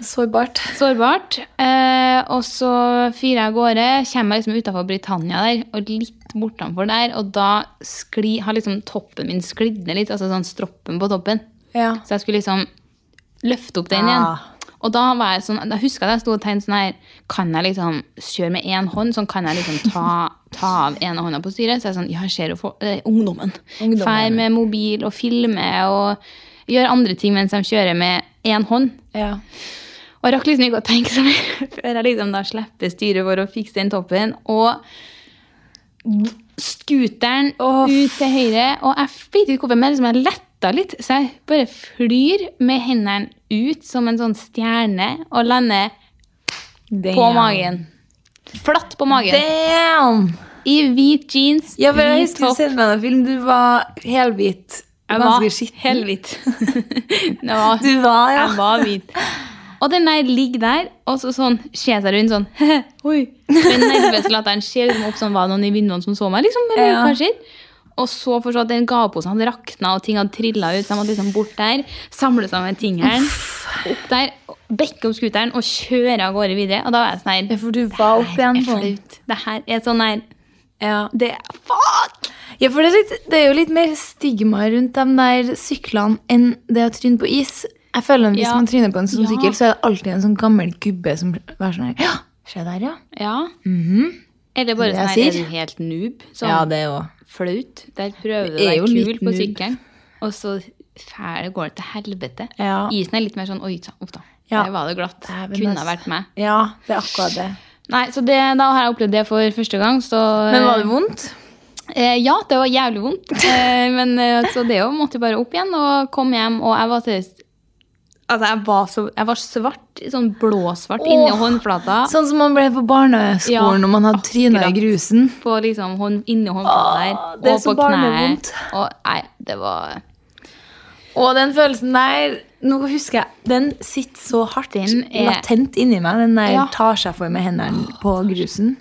Speaker 4: Sårbart.
Speaker 3: Sårbart. Eh, og så fyrer jeg av gårde. Kommer jeg liksom utafor Britannia der, og litt bortenfor der, og da skli, har liksom toppen min sklidd ned litt, altså sånn stroppen på toppen.
Speaker 4: Ja.
Speaker 3: Så jeg skulle liksom løfte opp den igjen.
Speaker 4: Ah.
Speaker 3: Og da var jeg sånn, da husker jeg at jeg sto og tenkte sånn her, kan jeg liksom kjøre med én hånd, sånn kan jeg liksom ta, ta av ene hånda på styret? Så jeg sånn, ja, jeg ser jo for, eh, ungdommen.
Speaker 4: Ungdommen.
Speaker 3: Fær med mobil og filme og gjør andre ting mens de kjører med én hånd.
Speaker 4: Ja.
Speaker 3: Og jeg rakk liksom ikke å tenke så mye før jeg liksom da slipper styret for å fikse den toppen. Og scooteren
Speaker 4: Åh.
Speaker 3: ut til høyre. Og jeg vet ikke hvorfor, men liksom jeg letta litt. Så jeg bare flyr med hendene ut som en sånn stjerne og lander på magen. Flatt på magen.
Speaker 4: Damn!
Speaker 3: I hvit jeans,
Speaker 4: Ja, for jeg
Speaker 3: hvit
Speaker 4: husker du
Speaker 3: topp.
Speaker 4: sendte meg en film. Du var helhvit.
Speaker 3: Jeg var
Speaker 4: Ganske skitten.
Speaker 3: helhvit. Det var-
Speaker 4: Du var, ja.
Speaker 3: Jeg var hvit. Og den der ligger der, og så sånn, ser seg rundt sånn Oi. Den nervøse latteren ser liksom opp sånn, var det noen i vinduene som så meg? liksom, eller
Speaker 4: Ja.
Speaker 3: hva skjer? Og så forstå at den gaveposen hadde rakna, og ting hadde trilla ut. Så jeg måtte liksom bort der, samle sammen tingene, opp der, bekke opp scooteren og kjøre av gårde videre. Og da var jeg sånn
Speaker 4: Ja,
Speaker 3: her
Speaker 4: for du var opp igjen sånn.
Speaker 3: er
Speaker 4: på den.
Speaker 3: flaut. Det her er sånn her
Speaker 4: Ja.
Speaker 3: det, Fuck!
Speaker 4: Ja, for det er, litt, det er jo litt mer stigma rundt de der syklene enn det å tryne på is. Jeg føler at Hvis
Speaker 3: Ja.
Speaker 4: man tryner på en sånn
Speaker 3: Ja.
Speaker 4: sykkel, så er det alltid en sånn gammel gubbe som er sånn her Ja, se der, ja.
Speaker 3: Ja. Eller bare
Speaker 4: Mhm. Det
Speaker 3: sånn
Speaker 4: jeg
Speaker 3: her, er
Speaker 4: sier.
Speaker 3: du helt noob? Sånn
Speaker 4: Ja, det òg.
Speaker 3: flaut. Der prøver du
Speaker 4: Det er
Speaker 3: deg
Speaker 4: jo
Speaker 3: kul
Speaker 4: litt
Speaker 3: på
Speaker 4: noob.
Speaker 3: sykkelen, og så fæl går det til helvete.
Speaker 4: Ja.
Speaker 3: Isen er litt mer sånn oi, sa- uff da.
Speaker 4: Ja.
Speaker 3: Der var det glatt.
Speaker 4: Dæven,
Speaker 3: Kunne
Speaker 4: ass.
Speaker 3: ha vært meg.
Speaker 4: Ja, det er akkurat det.
Speaker 3: Nei, så det, da har jeg opplevd det for første gang. Så,
Speaker 4: Men var det vondt?
Speaker 3: Eh, ja, det var jævlig vondt. Eh, men eh, så det jo måtte jeg bare opp igjen og kom hjem, og jeg var seriøst Altså, jeg var, så, jeg var svart, sånn blåsvart inni
Speaker 4: Åh,
Speaker 3: håndflata.
Speaker 4: Sånn som man ble på barneskolen
Speaker 3: Ja,
Speaker 4: når man hadde tryna i
Speaker 3: akkurat.
Speaker 4: grusen.
Speaker 3: På liksom hånd, inni håndflata der.
Speaker 4: det er
Speaker 3: og
Speaker 4: så
Speaker 3: på knær.
Speaker 4: barnevondt.
Speaker 3: Og nei, det var
Speaker 4: Og den følelsen der nå husker jeg, Den sitter så hardt
Speaker 3: Den er-
Speaker 4: latent inni meg. Den der
Speaker 3: Ja.
Speaker 4: tar seg for med hendene på grusen.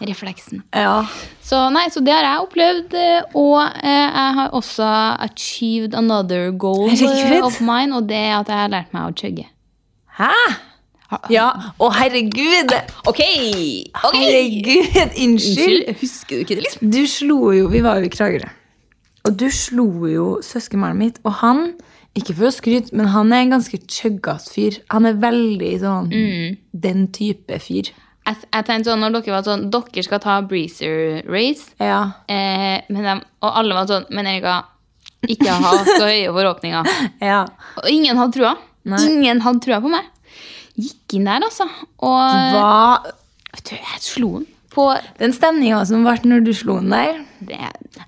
Speaker 3: refleksen.
Speaker 4: Ja.
Speaker 3: Så nei, så det har jeg opplevd. eh, Og eh, jeg har også achieved another goal eh,
Speaker 4: Herregud.
Speaker 3: of mine, og det er at jeg har lært meg å chugge.
Speaker 4: Hæ? Ja. Å, herregud!
Speaker 3: OK!
Speaker 4: Herregud, unnskyld.
Speaker 3: Husker du ikke det, liksom?
Speaker 4: Du slo jo Vi var jo i Kragerø. Og du slo jo søskenbarnet mitt. Og han, ikke for å skryte, men han er en ganske chuggas fyr. Han er veldig sånn
Speaker 3: Mm.
Speaker 4: den type fyr.
Speaker 3: Jeg, jeg tenkte sånn, når dere var sånn, dere skal ta breezer race,
Speaker 4: Ja.
Speaker 3: eh, men dem- og alle var sånn, men Erika, ikke ha så høye forhåpninger.
Speaker 4: ja.
Speaker 3: Og ingen hadde trua. Ingen hadde trua på meg. Gikk inn der, altså. Og
Speaker 4: Hva
Speaker 3: Vet du, jeg slo den på
Speaker 4: Den stemninga som ble når du slo den der
Speaker 3: det,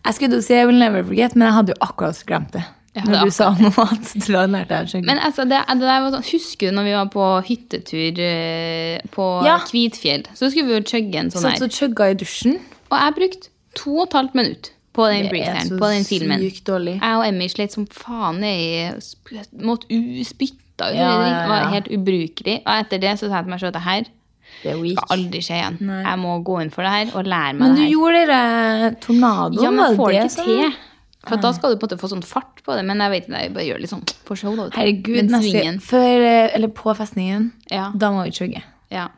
Speaker 4: Jeg skulle til å si I will never forget, men jeg hadde jo akkurat glemt det.
Speaker 3: Ja, det er
Speaker 4: Når du sa noe at du hadde lært deg å skjegge.
Speaker 3: Men altså, det, det der var sånn, husker du når vi var på hyttetur eh, på
Speaker 4: Ja.
Speaker 3: Kvitfjell? Så skulle vi jo chugge en sånn
Speaker 4: Satt
Speaker 3: her.
Speaker 4: og chugga i dusjen.
Speaker 3: Og jeg brukte to og et halvt minutt på den
Speaker 4: Det er
Speaker 3: breezeren,
Speaker 4: så
Speaker 3: på den filmen.
Speaker 4: sykt dårlig.
Speaker 3: Jeg og Emmy slet som faen i sp- Måtte u spytta ut.
Speaker 4: Ja, ja, ja.
Speaker 3: Det var helt ubrukelig. Og etter det så sa jeg til meg selv at det her
Speaker 4: Det er
Speaker 3: skal
Speaker 4: weak.
Speaker 3: aldri skje igjen. Jeg må gå inn for det her og lære meg
Speaker 4: Men du
Speaker 3: det her.
Speaker 4: gjorde dere tornadoen,
Speaker 3: Ja,
Speaker 4: var
Speaker 3: men får det
Speaker 4: det
Speaker 3: ikke
Speaker 4: som-
Speaker 3: til. For da skal du på en måte få sånn fart på det. Men jeg vet ikke, jeg bare gjør litt sånn for show. da, vet du.
Speaker 4: Herregud,
Speaker 3: men
Speaker 4: neste,
Speaker 3: svingen.
Speaker 4: før, eh, eller på festningen,
Speaker 3: Ja.
Speaker 4: da må vi chugge.
Speaker 3: Ja.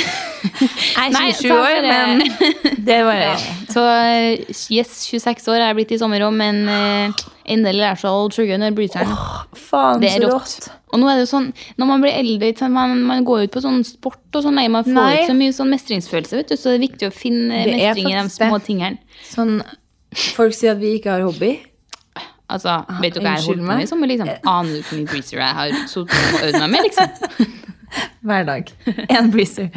Speaker 4: Jeg
Speaker 3: Nei,
Speaker 4: er 27
Speaker 3: så
Speaker 4: år,
Speaker 3: er
Speaker 4: men
Speaker 3: det-
Speaker 4: det var
Speaker 3: Ja. Så eh, yes, 26 år er jeg blitt i sommer òg, men eh, endelig lærer seg å trugge under bryteren.
Speaker 4: Faen,
Speaker 3: Det er
Speaker 4: så
Speaker 3: rått.
Speaker 4: rått.
Speaker 3: Og nå er det jo sånn, når man blir eldre, ikke sant, man, man går ut på sånn sport og sånn, nei, man får
Speaker 4: Nei.
Speaker 3: ikke så mye sånn mestringsfølelse, vet du, så det er viktig å finne
Speaker 4: Det er
Speaker 3: mestring i de
Speaker 4: faktisk
Speaker 3: små
Speaker 4: det.
Speaker 3: tingene.
Speaker 4: Sånn, folk sier at vi ikke har hobby.
Speaker 3: Altså, vet du hva
Speaker 4: Ah,
Speaker 3: jeg har
Speaker 4: unnskyld
Speaker 3: holdt på med
Speaker 4: meg. Eh.
Speaker 3: i sommer, liksom? Aner du hvor mye breezer jeg har sittet og øvd meg med, liksom?
Speaker 4: Hver dag. En breezer.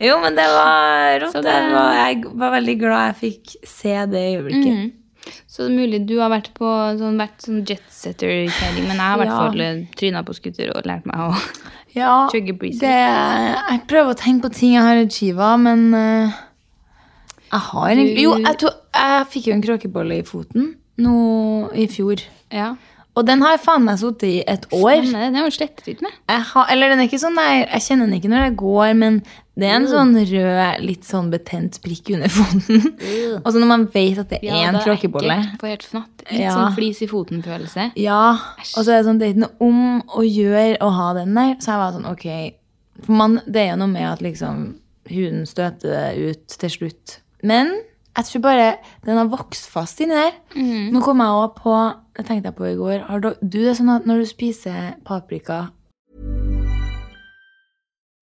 Speaker 4: Jo, men det var rått.
Speaker 3: Så det-
Speaker 4: Jeg, var, jeg var veldig glad jeg fikk se det øyeblikket.
Speaker 3: Mhm. Så det er mulig du har vært på sånn, vært sånn jetsetter-kjæring, men jeg har i hvert
Speaker 4: Ja.
Speaker 3: fall eh, trynet på skutter og lært meg å
Speaker 4: Ja,
Speaker 3: Chugge breezer.
Speaker 4: det, jeg prøver å tenke på ting jeg har achieva, men eh, jeg har egentlig Jo, jeg, to, jeg fikk jo en kråkebolle i foten nå i fjor.
Speaker 3: Ja,
Speaker 4: Og den har jeg faen meg sittet i et år.
Speaker 3: men eh, det, det har jo slettet litt med.
Speaker 4: Jeg har, eller den er ikke sånn, jeg, jeg kjenner den ikke når jeg går, men det er en sånn rød, litt sånn betent prikk under foten. Og så når man vet at Mm. det er en kråkebolle
Speaker 3: På helt fnatt. Litt
Speaker 4: Ja.
Speaker 3: sånn flis i foten-følelse.
Speaker 4: Ja, og så er det sånn, det er ikke noe om å gjøre å ha den der. Så jeg var sånn, ok. For man, det er jo noe med at liksom huden støter det ut til slutt. Men jeg tror bare den har vokst fast inni der.
Speaker 3: Mhm.
Speaker 4: Nå kom jeg også på, det tenkte jeg på i går, har du, du det er sånn at når du spiser paprika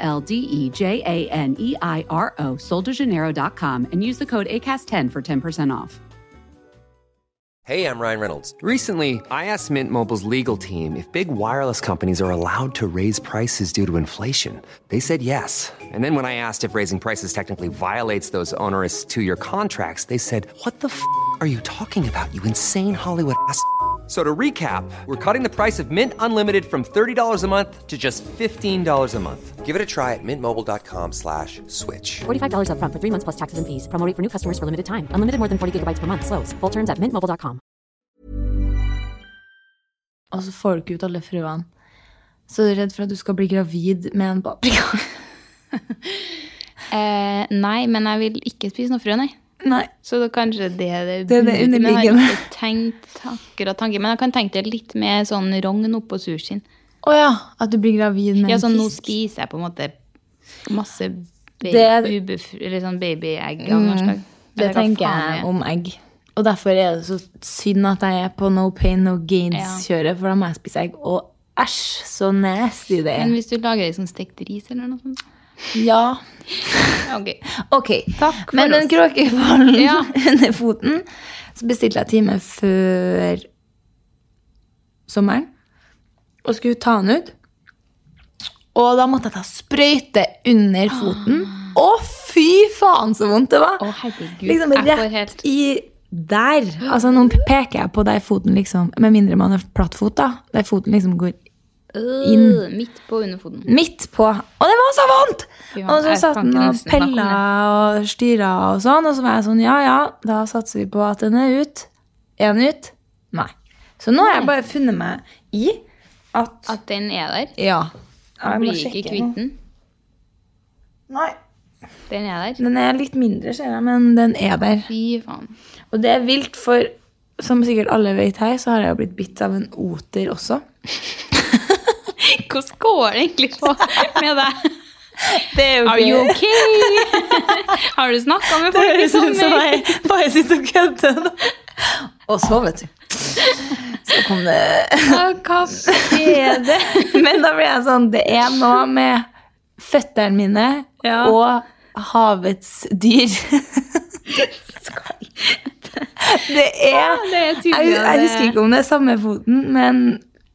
Speaker 1: L D E J A N E I R O, soldejaneiro.com, and use the code ACAST10 for 10% off.
Speaker 2: Hey, I'm Ryan Reynolds. Recently, I asked Mint Mobile's legal team if big wireless companies are allowed to raise prices due to inflation. They said yes. And then when I asked if raising prices technically violates those onerous two year contracts, they said, What the f are you talking about, you insane Hollywood ass? f- So to recap, we're cutting the price of Mint Unlimited from $30 a month to just $15 a month. Give it a try at mintmobile.com slash switch.
Speaker 5: $45 upfront for three months plus taxes and fees. Promo rate for new customers for limited time. Unlimited more than 40 gigabytes per month. Slows. Full terms at mintmobile.com.
Speaker 4: og så får du ikke ut alle frøene. Så er du redd for at du skal bli gravid med en paprika?
Speaker 3: Eh, nei, men jeg vil ikke spise noe frø, nei.
Speaker 4: Nei.
Speaker 3: Så da kanskje det er det,
Speaker 4: Det er det
Speaker 3: Men jeg har
Speaker 4: underliggende.
Speaker 3: ikke tenkt akkurat tanken. Men jeg kan tenke det litt med sånn rogn oppå sushien.
Speaker 4: Å ja, at du blir gravid med
Speaker 3: Ja,
Speaker 4: en
Speaker 3: sånn nå
Speaker 4: fisk.
Speaker 3: spiser jeg på en måte masse baby,
Speaker 4: Det er- Mm,
Speaker 3: ubefru- eller sånn babyegg av noe slag.
Speaker 4: Det
Speaker 3: Eller hva
Speaker 4: tenker
Speaker 3: faen
Speaker 4: jeg
Speaker 3: er.
Speaker 4: om egg. Og derfor er det så synd at jeg er på no pain, no gains-kjøret, for da må jeg spise egg. Og æsj, så nasty det
Speaker 3: Men
Speaker 4: er.
Speaker 3: hvis du lager liksom stekt ris eller noe sånt
Speaker 4: Ja.
Speaker 3: Ok.
Speaker 4: Ok.
Speaker 3: Takk for
Speaker 4: Men den
Speaker 3: oss.
Speaker 4: kråkeballen
Speaker 3: Ja.
Speaker 4: under foten, så bestilte jeg time før sommeren. Og skulle ta den ut. Og da måtte jeg ta sprøyte under foten. Å, fy faen, så vondt det var!
Speaker 3: Å, herregud,
Speaker 4: liksom
Speaker 3: jeg
Speaker 4: rett
Speaker 3: får helt-
Speaker 4: i der. Altså, nå peker jeg på der foten liksom Med mindre man har plattfot, da. Der foten liksom går
Speaker 3: Øh, midt på underfoten.
Speaker 4: midt på. Og det var så vondt!
Speaker 3: Fy faen,
Speaker 4: Og så
Speaker 3: jeg
Speaker 4: satt
Speaker 3: kan
Speaker 4: den
Speaker 3: ikke
Speaker 4: og
Speaker 3: nesten snakke om
Speaker 4: pella og styra og sånn. Og så var jeg sånn, ja ja, da satser vi på at den er ut. Er den ut? Nei. Så nå har jeg bare funnet meg i at
Speaker 3: At den er der.
Speaker 4: Ja. Jeg må
Speaker 3: Blir ikke
Speaker 4: sjekke
Speaker 3: kvitt
Speaker 4: nå.
Speaker 3: den.
Speaker 4: Nei.
Speaker 3: Den er der.
Speaker 4: Den er litt mindre, ser jeg, men den er der.
Speaker 3: Fy faen.
Speaker 4: Og det er vilt, for som sikkert alle vet her, så har jeg jo blitt bitt av en oter også.
Speaker 3: Hvordan går det egentlig på med deg?
Speaker 4: Det er
Speaker 3: Are you okay? Har du snakka med folk liksom i
Speaker 4: sånn
Speaker 3: sommer?
Speaker 4: jeg bare sitter og kødder. Og så, vet du. Så kom det
Speaker 3: Ja, Hva skjer det?
Speaker 4: Men da ble jeg sånn Det er noe med føttene mine
Speaker 3: Ja.
Speaker 4: og havets dyr. Det er,
Speaker 3: det er tydelig
Speaker 4: jeg,
Speaker 3: at
Speaker 4: jeg
Speaker 3: det-
Speaker 4: husker ikke om det er samme foten, men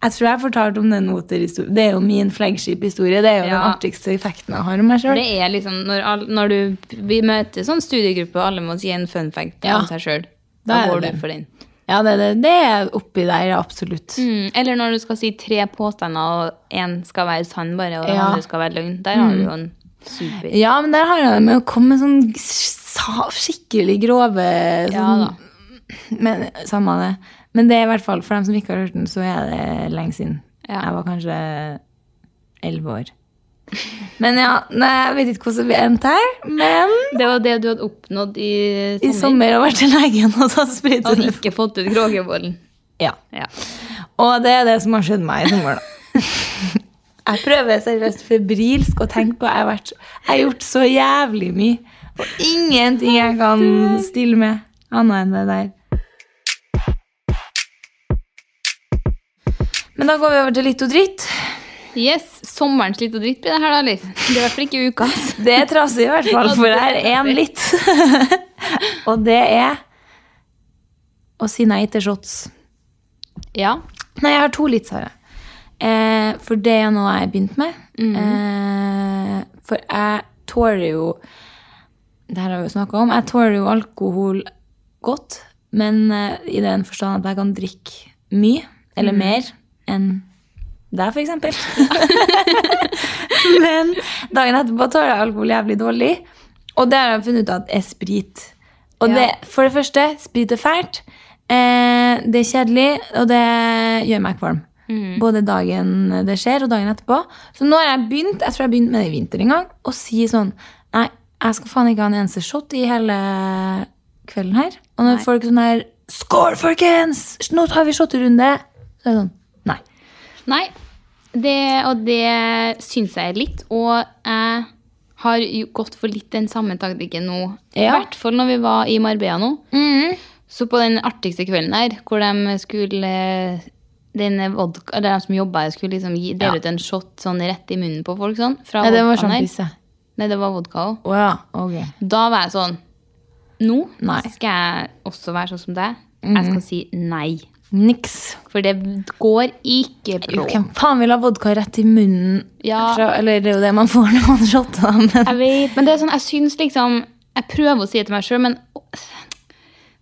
Speaker 4: jeg tror jeg fortalte om den oterhistorien. Det er jo min flaggskip-historie. Det er jo den
Speaker 3: Ja.
Speaker 4: artigste effekten jeg har om meg sjøl.
Speaker 3: Det er liksom når, all- når du Vi møter sånn studiegruppe, og alle må si en fun fact
Speaker 4: Ja.
Speaker 3: om seg sjøl.
Speaker 4: Da
Speaker 3: Da
Speaker 4: er det
Speaker 3: går du
Speaker 4: det.
Speaker 3: for den.
Speaker 4: Ja, det, det, det er oppi der, absolutt.
Speaker 3: Mm, eller når du skal si tre påstander, og én skal være sann bare, og den
Speaker 4: Ja. Mm.
Speaker 3: andre skal være løgn. Der har du jo en super
Speaker 4: Ja, men der har jeg det med å komme med sånn sa- skikkelig grove
Speaker 3: Ja
Speaker 4: sånn,
Speaker 3: da.
Speaker 4: Men samme det. Men det er i hvert fall, for dem som ikke har hørt den, så er det lenge siden.
Speaker 3: Ja.
Speaker 4: Jeg var kanskje elleve år. Men ja, nei, jeg vet ikke hvordan vi endte her, men
Speaker 3: Det var det du hadde oppnådd i sommer.
Speaker 4: i sommer har jeg vært til legen og tatt sprøyte.
Speaker 3: Og ikke fått ut Kråkebollen.
Speaker 4: Ja.
Speaker 3: Ja.
Speaker 4: Og det er det som har skjedd meg i sommer, da. Jeg prøver seriøst febrilsk å tenke på Jeg har, vært, jeg har gjort så jævlig mye. Og ingenting jeg kan stille med annet enn det der. Men da går vi over til litt og dritt.
Speaker 3: Yes, sommerens litt og dritt blir det her, da, eller? Det er i hvert fall ikke ukas.
Speaker 4: Det er trasig i hvert fall, for det er én litt. Og det er å si nei til shots.
Speaker 3: Ja.
Speaker 4: Nei, jeg har to litt, Sara. Eh, for det er noe jeg har begynt med. Eh, for jeg tåler jo Det her har vi jo snakka om. Jeg tåler jo alkohol godt, men eh, i den forstand at jeg kan drikke mye, eller mer, enn deg, for eksempel. men dagen etterpå tåler jeg alkohol jævlig dårlig, og det har jeg funnet ut at er sprit. Og
Speaker 3: Ja.
Speaker 4: det, for det første, sprit er fælt, eh, det er kjedelig, og det gjør meg kvalm. Både dagen det skjer, og dagen etterpå. Så nå har jeg begynt jeg tror jeg begynte med det i vinter en gang, å si sånn Nei, jeg skal faen ikke ha en eneste shot i hele kvelden her. Og når folk sånn her Skål, folkens! Nå tar vi shotterunde! Så er det sånn Nei.
Speaker 3: Nei, det, og det syns jeg er litt. Og jeg har jo gått for litt den samme taktikken nå. I
Speaker 4: Ja.
Speaker 3: hvert fall når vi var i Marbella nå. Så på den artigste kvelden der, hvor de skulle den vodka, eller De som jobba her, skulle liksom gi, dele ut en shot sånn rett i munnen på folk. sånn, fra
Speaker 4: Nei, det var
Speaker 3: vodkaen her.
Speaker 4: sjampis, ja.
Speaker 3: Nei, det var vodka òg.
Speaker 4: Å ja, ok.
Speaker 3: Da var jeg sånn Nå
Speaker 4: Nei.
Speaker 3: skal jeg også være sånn som deg. Jeg skal si nei.
Speaker 4: Niks.
Speaker 3: For det går ikke bra.
Speaker 4: Jo, hvem faen vil ha vodka rett i munnen?
Speaker 3: Ja.
Speaker 4: Fra, eller det er jo det man får når man shotter, da, men
Speaker 3: Jeg vet, men det er sånn, jeg synes liksom Jeg prøver å si det til meg sjøl, men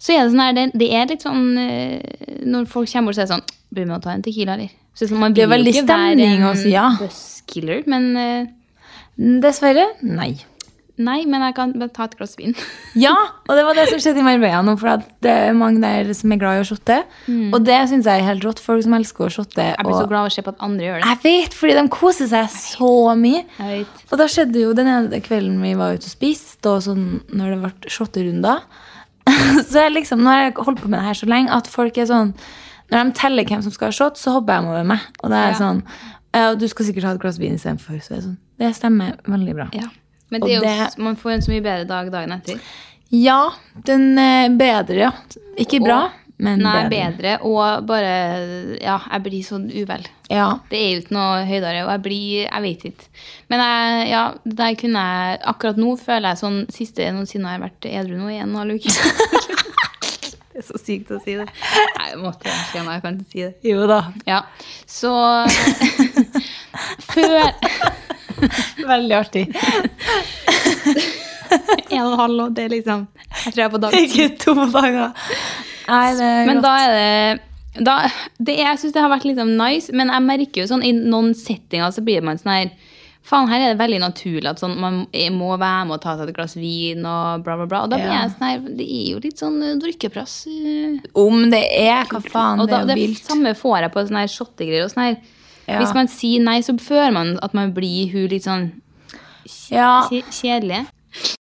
Speaker 3: så er det sånn her, det, det er litt sånn eh, Når folk kommer bort, så er det sånn Blir med å ta en Tequila, eller? Så det er sånn, man
Speaker 4: Det er
Speaker 3: vil jo
Speaker 4: veldig
Speaker 3: ikke være
Speaker 4: stemning
Speaker 3: en
Speaker 4: å si ja.
Speaker 3: buzzkiller, men eh,
Speaker 4: Dessverre. Nei.
Speaker 3: Nei, men jeg kan bare ta et glass vin.
Speaker 4: Ja, og det var det som skjedde i Marbella nå, for at det er mange der som er glad i å shotte. Og det syns jeg er helt rått. Folk som elsker å shotte.
Speaker 3: Mm. Jeg blir så
Speaker 4: og-
Speaker 3: glad av å se på at andre gjør det.
Speaker 4: Jeg vet, fordi de koser seg så mye.
Speaker 3: Jeg vet.
Speaker 4: Og da skjedde jo den ene kvelden vi var ute og spiste, og sånn når det ble shotterunder. så jeg liksom, nå har jeg holdt på med det her så lenge at folk er sånn Når de teller hvem som skal ha shot, så hopper de over meg. Og da er jeg
Speaker 3: Ja.
Speaker 4: sånn «Ja, Du skal sikkert ha et glass vin istedenfor. Så er jeg sånn, det stemmer veldig bra.
Speaker 3: Ja. Men
Speaker 4: Og
Speaker 3: det er jo,
Speaker 4: det-
Speaker 3: s- man får en så mye bedre dag dagen etter.
Speaker 4: Ja, den er bedre, ja. Ikke bra, men
Speaker 3: Nei,
Speaker 4: bedre.
Speaker 3: bedre. Og bare Ja, jeg blir sånn uvel.
Speaker 4: Ja.
Speaker 3: Det er jo ikke noe høydere, og jeg blir Jeg vet ikke. Men jeg, ja, det der kunne jeg Akkurat nå føler jeg sånn siste noensinne har jeg vært edru nå i en og en halv uke. det er så sykt å si det. Nei, jeg måtte egentlig si det. Jeg kan ikke si det.
Speaker 4: Jo da.
Speaker 3: Ja, så Før
Speaker 4: Veldig artig.
Speaker 3: En og en halv, og det er liksom Jeg tror jeg er på dag ti.
Speaker 4: Ikke to dager. Nei, det er
Speaker 3: Men
Speaker 4: godt.
Speaker 3: da er det da, det, Jeg syns det har vært liksom nice, men jeg merker jo sånn i noen settinger så blir man sånn her Faen, her er det veldig naturlig at sånn, man må være med og ta seg et glass vin og bla, bla, bla. Og da blir
Speaker 4: Ja.
Speaker 3: jeg sånn her Det er jo litt sånn eh, drikkepress. eh.
Speaker 4: Om det er, hva faen,
Speaker 3: Og da,
Speaker 4: det
Speaker 3: det
Speaker 4: er jo vilt.
Speaker 3: samme får jeg på sånne her shottegreier og sånn her.
Speaker 4: Ja.
Speaker 3: Hvis man sier nei, så føler man at man blir hun litt sånn
Speaker 4: Ja.
Speaker 3: kje- kjedelig.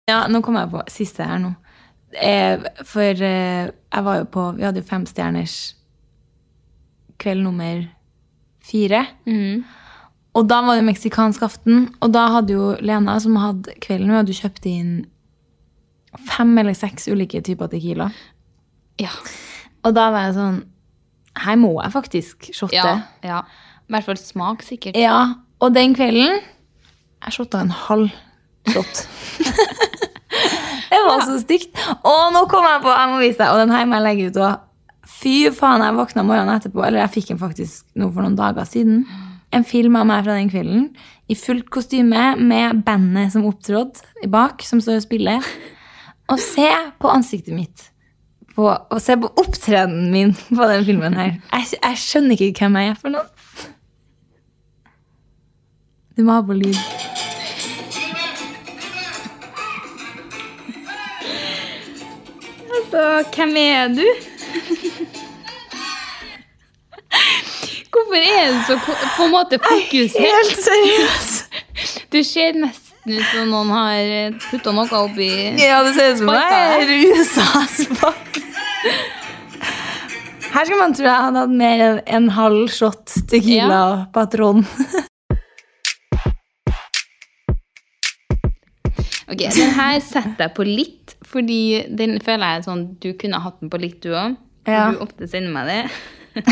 Speaker 4: Ja, nå kom jeg på siste her nå. Eh, for eh, jeg var jo på Vi hadde jo femstjerners kveld nummer fire. Og da var det meksikansk aften, og da hadde jo Lena, som hadde kvelden, hun hadde jo kjøpt inn fem eller seks ulike typer tequila.
Speaker 3: Ja.
Speaker 4: Og da var jeg sånn Her må jeg faktisk shotte.
Speaker 3: ja,
Speaker 4: Ja.
Speaker 3: ja. I hvert fall smak, sikkert.
Speaker 4: Og den kvelden Jeg shotta en halv shot. det var så stygt. Å, nå kom jeg på! Jeg må vise deg. Og den her må jeg legge ut òg. Fy faen, jeg våkna morgenen etterpå, eller jeg fikk den faktisk nå for noen dager siden. En film av meg fra den kvelden i fullt kostyme med bandet som opptrådte i bak, som står og spiller. Og se på ansiktet mitt. På, og se på opptredenen min på den filmen her. Jeg, jeg skjønner ikke hvem jeg er for noen. Du må ha på lyd.
Speaker 3: Så hvem er du? Hvorfor er du så ko- på en måte fokusert?
Speaker 4: Helt seriøst.
Speaker 3: Du ser nesten ut som noen har putta noe oppi
Speaker 4: Ja, det ser ut som
Speaker 3: Sparka
Speaker 4: jeg er rusa spakk. Her skal man tro jeg hadde hatt mer enn en halv shot tequila og patron.
Speaker 3: Ok, Den her setter jeg på litt, fordi den føler jeg sånn Du kunne hatt den på litt, du òg.
Speaker 4: Ja.
Speaker 3: Du ofte sender meg det.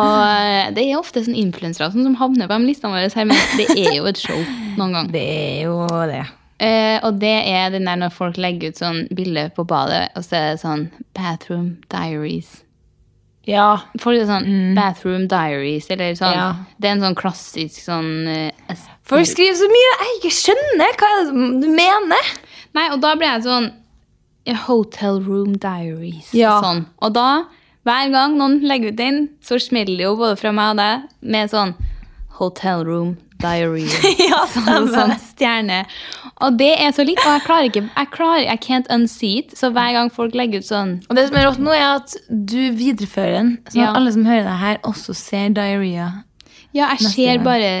Speaker 3: og det er ofte sånn influensere og sånn som havner på de listene våre her, men det er jo et show noen gang.
Speaker 4: Det er jo det.
Speaker 3: Eh, og det er den der når folk legger ut sånn bilde på badet, og så er det sånn Bathroom diaries.
Speaker 4: Ja.
Speaker 3: Folk er sånn Bathroom diaries, eller sånn.
Speaker 4: Mm. Ja.
Speaker 3: Det er en sånn klassisk sånn eh, es-
Speaker 4: Folk skriver så mye jeg ikke skjønner hva er det du mener.
Speaker 3: Nei, og da blir jeg sånn eh, Hotel room diaries.
Speaker 4: Ja.
Speaker 3: Sånn. Og da, hver gang noen legger ut den, så smeller det jo både fra meg og deg med sånn Hotel room diary.
Speaker 4: Ja,
Speaker 3: sånn, sånn stjerne. Og det er så litt, og jeg klarer ikke Jeg klarer, I can't unsee it. Så hver gang folk legger ut sånn
Speaker 4: Og det som er rått nå, er at du viderefører den, sånn
Speaker 3: Ja.
Speaker 4: at alle som hører det her, også ser diaré.
Speaker 3: Ja, jeg
Speaker 4: Neste
Speaker 3: ser
Speaker 4: gang.
Speaker 3: bare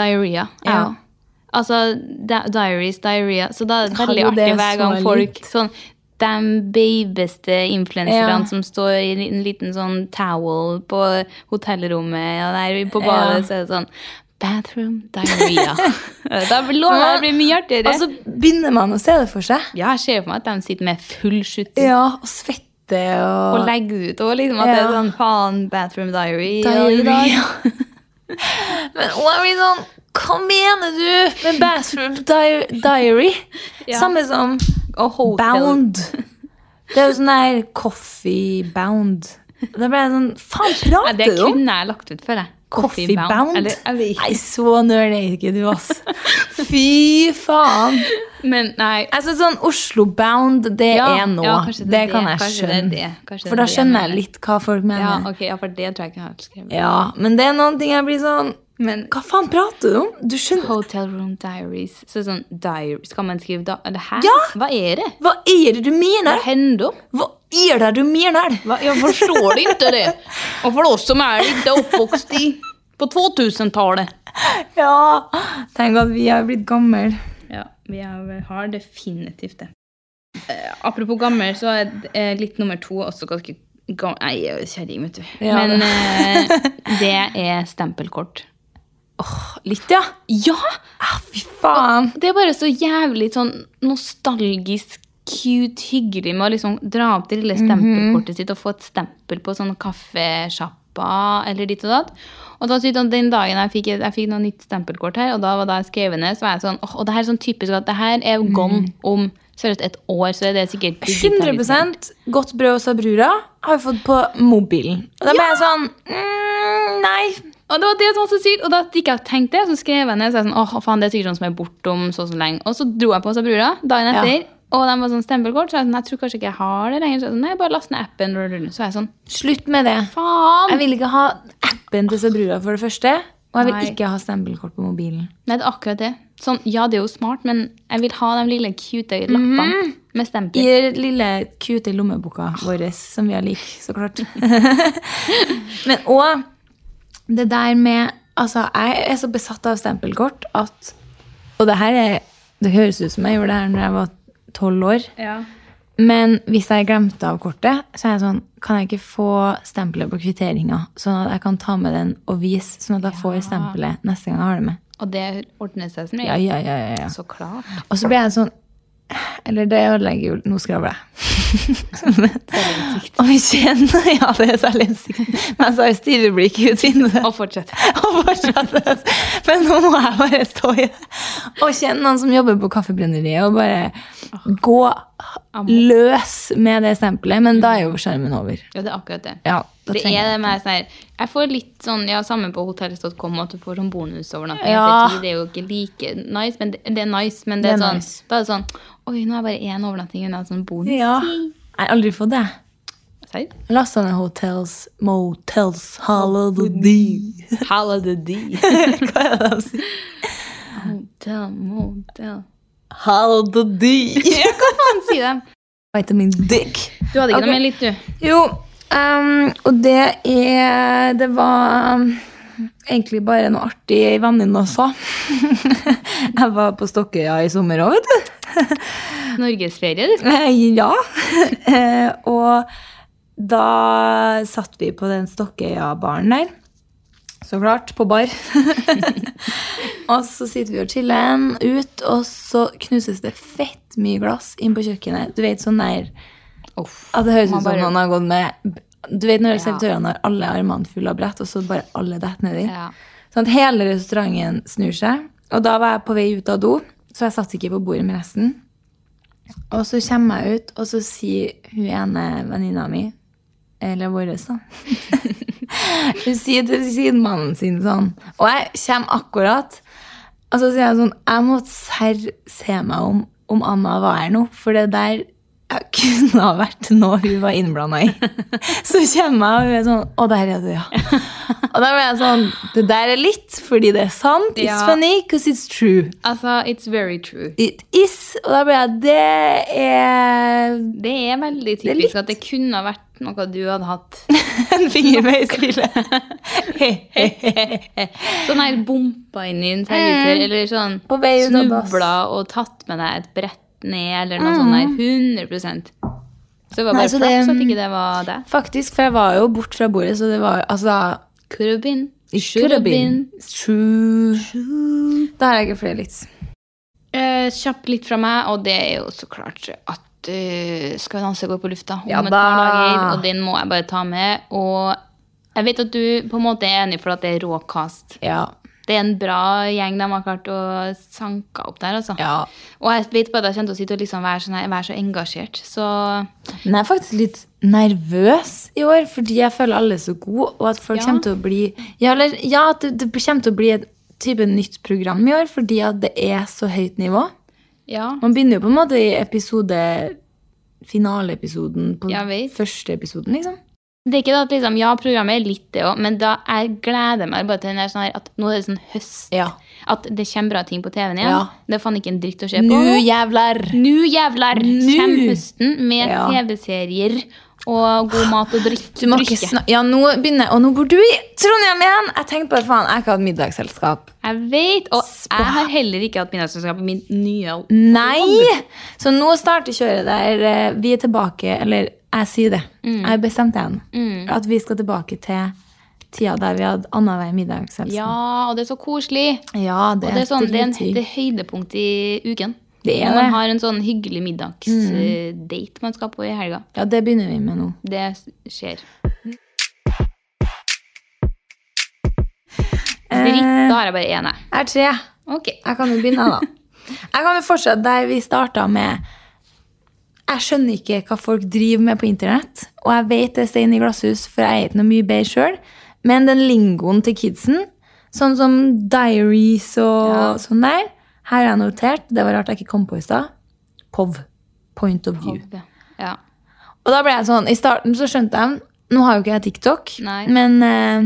Speaker 3: diaré. Ja.
Speaker 4: Ja.
Speaker 3: Altså da, diaries, diaré. Så da er det veldig
Speaker 4: Hallo, det
Speaker 3: artig
Speaker 4: er
Speaker 3: hver
Speaker 4: så
Speaker 3: gang folk
Speaker 4: likt.
Speaker 3: sånn de babeste influenserne
Speaker 4: Ja.
Speaker 3: som står i en liten- liten sånn towel på hotellrommet og der på
Speaker 4: Ja.
Speaker 3: badet, så er det sånn Bathroom diaré. da lover jeg det blir mye artigere.
Speaker 4: Og så begynner man å se det for seg.
Speaker 3: ja, jeg ser for meg at de sitter med full skjutting
Speaker 4: Ja, og svette og
Speaker 3: og legger ut og liksom at det er
Speaker 4: Ja.
Speaker 3: sånn faen, bathroom diary. og i
Speaker 4: Diary,
Speaker 3: dag-
Speaker 4: ja. Men og jeg blir sånn Hva mener du med bathroom di diary? Samme som
Speaker 3: Og hotel.
Speaker 4: bound. Det er jo sånn der coffee bound. Da ble jeg sånn Faen,
Speaker 3: Ja,
Speaker 4: prater
Speaker 3: det
Speaker 4: du om?
Speaker 3: kunne jeg lagt ut før, jeg.
Speaker 4: Coffee bound?
Speaker 3: Eller, jeg vet ikke.
Speaker 4: Nei, så nerd er ikke du, ass. Fy faen.
Speaker 3: Men nei.
Speaker 4: Altså sånn Oslo bound, det
Speaker 3: Ja,
Speaker 4: er nå.
Speaker 3: ja,
Speaker 4: det,
Speaker 3: kanskje er
Speaker 4: kan jeg
Speaker 3: kanskje det er
Speaker 4: skjønne.
Speaker 3: det, kanskje det
Speaker 4: For
Speaker 3: er
Speaker 4: da
Speaker 3: det
Speaker 4: skjønner jeg
Speaker 3: mener.
Speaker 4: litt hva folk
Speaker 3: Ja,
Speaker 4: mener.
Speaker 3: ok, ja, for det tror jeg ikke jeg har skrevet.
Speaker 4: Ja, men det er noen ting jeg blir sånn
Speaker 3: Men
Speaker 4: Hva faen prater du om? Du skjønner
Speaker 3: Hotel Room Diaries så sånn, diary, Skal man skrive da, det her?
Speaker 4: Ja!
Speaker 3: Hva er det?
Speaker 4: Hva er det du
Speaker 3: Hva
Speaker 4: mener?
Speaker 3: hender?
Speaker 4: Hva er det du mener?
Speaker 3: Hva? Jeg forstår ikke det. Og for oss som er ikke oppvokst i, på 2000-tallet.
Speaker 4: Ja, tenk at vi har blitt gammel.
Speaker 3: Ja, vi har, har definitivt det. Eh, apropos gammel, så er eh, litt nummer to også ganske gammel. Nei, jeg er jo kjerring, vet du.
Speaker 4: Ja,
Speaker 3: Men
Speaker 4: det.
Speaker 3: eh, det er stempelkort.
Speaker 4: Litt, ja.
Speaker 3: Ja!
Speaker 4: Ah, fy faen.
Speaker 3: Det er bare så jævlig sånn nostalgisk, cute, hyggelig med å liksom dra opp det lille stempelkortet sitt og få et stempel på sånn kaffesjappa eller ditt og datt. Og da synes jeg, Den dagen jeg fikk, et- jeg fikk noe nytt stempelkort her, og da var det skrevet ned, så var jeg sånn åh, Og det her er sånn typisk at det her er gone om seriøst et år, så er det sikkert digitalisert.
Speaker 4: 100 Godt brød og sabrura har vi fått på mobilen. Og da ble jeg sånn mm, Nei.
Speaker 3: Og det var det som var så sykt, og da gikk jeg og tenkte det, og så skrev jeg ned, så jeg sånn, åh faen, det er sikkert sånn som er bortom så og så lenge. Og så dro jeg på Sabrura dagen etter, og de var sånn stempelkort, så jeg sånn, jeg tror kanskje ikke jeg har det lenger. Så jeg sånn, nei, bare last ned appen, så jeg sånn,
Speaker 4: Slutt med det.
Speaker 3: faen!
Speaker 4: Jeg vil ikke ha appen til Sabrura, for det første. Og jeg vil
Speaker 3: Nei.
Speaker 4: ikke ha stempelkort på mobilen.
Speaker 3: Nei, det er akkurat det. Sånn, ja, det er jo smart, men jeg vil ha de lille cute lappene med
Speaker 4: I
Speaker 3: stempel.
Speaker 4: den lille, cute lommeboka vår, som vi har lik, så klart. Men òg det der med Altså, jeg er så besatt av stempelkort at Og det her er Det høres ut som jeg gjorde det her når jeg var tolv år.
Speaker 3: Ja.
Speaker 4: Men hvis jeg glemte av kortet, så er jeg sånn Kan jeg ikke få stempelet på kvitteringa, sånn at jeg kan ta med den og vise, sånn at jeg får stempelet neste gang jeg har det med?
Speaker 3: Og det ordner seg som
Speaker 4: Ja,
Speaker 3: regel.
Speaker 4: ja, ja, ja, ja.
Speaker 3: Så klart.
Speaker 4: Og så ble jeg sånn Eller det ødelegger jo Nå skravler jeg. Og vi kjenner Ja, det er selvinnsikt. Men jeg har stirreblikk ut vinduet.
Speaker 3: Og fortsett.
Speaker 4: Og fortsatte. Men nå må jeg bare stå i det. Og kjenne noen som jobber på Kaffebrenneriet, og bare gå løs med det stempelet. Men da er jo skjermen over.
Speaker 3: Ja, det er akkurat det.
Speaker 4: Ja, da
Speaker 3: det
Speaker 4: trenger jeg
Speaker 3: er det med sånn her Jeg får litt sånn Ja, samme på hotels.com at du får sånn bonusovernatting.
Speaker 4: Ja.
Speaker 3: etter ti. Det er jo ikke like nice, men det, det er nice. Men det
Speaker 4: Det
Speaker 3: er,
Speaker 4: er
Speaker 3: sånn,
Speaker 4: nice.
Speaker 3: da er det sånn Oi, nå er jeg bare én overnatting unna sånn bonus.
Speaker 4: Ja. Jeg har aldri fått det.
Speaker 3: Serr?
Speaker 4: Lasta ned Hotels Motels Holiday. Hva er det de sier?
Speaker 3: Modell, modell.
Speaker 4: Holiday.
Speaker 3: Ja, hva faen sier de?
Speaker 4: Vitamin dick.
Speaker 3: Du hadde ikke
Speaker 4: Ok.
Speaker 3: noe mer litt, du?
Speaker 4: Jo, ehm, og det er Det var ehm, egentlig bare noe artig venninne også. jeg var på Stokkøya i sommer òg, vet du.
Speaker 3: Norgesferie, du.
Speaker 4: Eh, ja. Eh, og da satt vi på den Stokkøya-baren der. Så klart, på bar. og så sitter vi og chiller'n ut, og så knuses det fett mye glass inn på kjøkkenet. Du vet, sånn der
Speaker 3: Uff.
Speaker 4: at det høres ut
Speaker 3: Man
Speaker 4: som
Speaker 3: bare-
Speaker 4: noen har gått med Du vet når
Speaker 3: Ja.
Speaker 4: servitørene har alle armene fulle av brett, og så bare alle detter nedi.
Speaker 3: Ja.
Speaker 4: Sånn at hele restauranten snur seg. Og da var jeg på vei ut av do, så jeg satt ikke på bordet med resten. Og så kommer jeg ut, og så sier hun ene venninna mi, eller vår, da Hun sier til sidemannen sin sånn Og jeg kommer akkurat. Og så sier jeg sånn Jeg må serr se meg om om Anna var her nå, for det der jeg kunne ha vært noe hun var innblanda i. Så kommer jeg, og hun er sånn Å, der er du, ja. Og da ble jeg sånn Det der er litt fordi det er sant. It's
Speaker 3: Ja.
Speaker 4: funny because it's true.
Speaker 3: Altså, it's very true.
Speaker 4: It is. Og da ble jeg Det er
Speaker 3: Det er veldig
Speaker 4: er
Speaker 3: typisk
Speaker 4: litt-
Speaker 3: at det kunne ha vært noe du hadde hatt.
Speaker 4: en finger med i spillet.
Speaker 3: Sånn her bompa inn i en servitør, eller sånn
Speaker 4: Mm. På vei ut av dass.
Speaker 3: snubla og tatt med deg et brett ned, eller noe sånt der. 100 Så
Speaker 4: Mm.
Speaker 3: det var
Speaker 4: Nei,
Speaker 3: bare
Speaker 4: så det-
Speaker 3: flaks at ikke det var det.
Speaker 4: Faktisk, for jeg var jo bort fra bordet, så det var altså
Speaker 3: Could have been.
Speaker 4: It
Speaker 3: should
Speaker 4: could have
Speaker 3: have
Speaker 4: been. True. Da har jeg ikke flere litt.
Speaker 3: Eh, kjapt litt fra meg, og det er jo så klart at eh, Skal vi danse går på lufta om
Speaker 4: Ja
Speaker 3: et
Speaker 4: da.
Speaker 3: par dager, og den må jeg bare ta med. Og jeg vet at du på en måte er enig for at det er råkast.
Speaker 4: Ja.
Speaker 3: Det er en bra gjeng de har klart å sanke opp der, altså.
Speaker 4: Ja.
Speaker 3: Og jeg vet bare at jeg kommer til å sitte og liksom være, sånn her, være så engasjert. Så
Speaker 4: Men jeg er faktisk litt nervøs i år, fordi jeg føler alle er så gode, og at folk
Speaker 3: Ja.
Speaker 4: kommer til å bli Ja, eller, ja at det, det kommer til å bli et type nytt program i år, fordi at det er så høyt nivå.
Speaker 3: ja.
Speaker 4: Man begynner jo på en måte i episode Finaleepisoden på
Speaker 3: Jeg vet.
Speaker 4: første episoden, liksom.
Speaker 3: Det er ikke det at liksom, ja, programmet er litt det òg, men da jeg gleder meg bare til den der sånn her, at nå er det sånn høst.
Speaker 4: Ja.
Speaker 3: At det kommer bra ting på TV-en igjen.
Speaker 4: Ja.
Speaker 3: Det er faen ikke en dritt å se på.
Speaker 4: Nå, jævler!
Speaker 3: Nå jævler
Speaker 4: Nu!
Speaker 3: kommer høsten med
Speaker 4: Ja.
Speaker 3: TV-serier og god mat og drikk.
Speaker 4: Du må ikke
Speaker 3: drikke.
Speaker 4: snak- Ja, nå begynner jeg. Og nå bor du i Trondheim igjen! Jeg tenkte bare, faen, jeg ikke hadde middagsselskap.
Speaker 3: Jeg vet, og jeg har heller ikke hatt middagsselskap i min nye alder.
Speaker 4: Nei! Så nå starter kjøret der. eh, Vi er tilbake, eller jeg sier det.
Speaker 3: Mm.
Speaker 4: Jeg bestemte igjen. At vi skal tilbake til tida der vi hadde annenhver middagsselskap.
Speaker 3: Ja, og det er så koselig.
Speaker 4: Ja, det,
Speaker 3: Og det er, sånn, det, er en,
Speaker 4: dritdigg.
Speaker 3: det er høydepunkt i uken.
Speaker 4: Det er
Speaker 3: Når man
Speaker 4: det.
Speaker 3: har en sånn hyggelig middagsdate man skal på i helga.
Speaker 4: Ja, det begynner vi med nå.
Speaker 3: Det skjer.
Speaker 4: Eh,
Speaker 3: Dritt, da har jeg bare én, jeg.
Speaker 4: Jeg har tre.
Speaker 3: Ok.
Speaker 4: Jeg kan jo begynne, da. Jeg kan jo fortsette der vi starta med Jeg skjønner ikke hva folk driver med på internett. Og jeg vet det er stein i glasshus, for jeg er ikke noe mye bedre sjøl. Men den lingoen til kidsen, sånn som diaries og sånn der Her har jeg notert. Det var rart jeg ikke kom på i stad. POV. Point of view.
Speaker 3: Ja. Ja.
Speaker 4: Og da ble jeg sånn, I starten så skjønte jeg Nå har jo ikke jeg TikTok,
Speaker 3: Nei.
Speaker 4: men eh,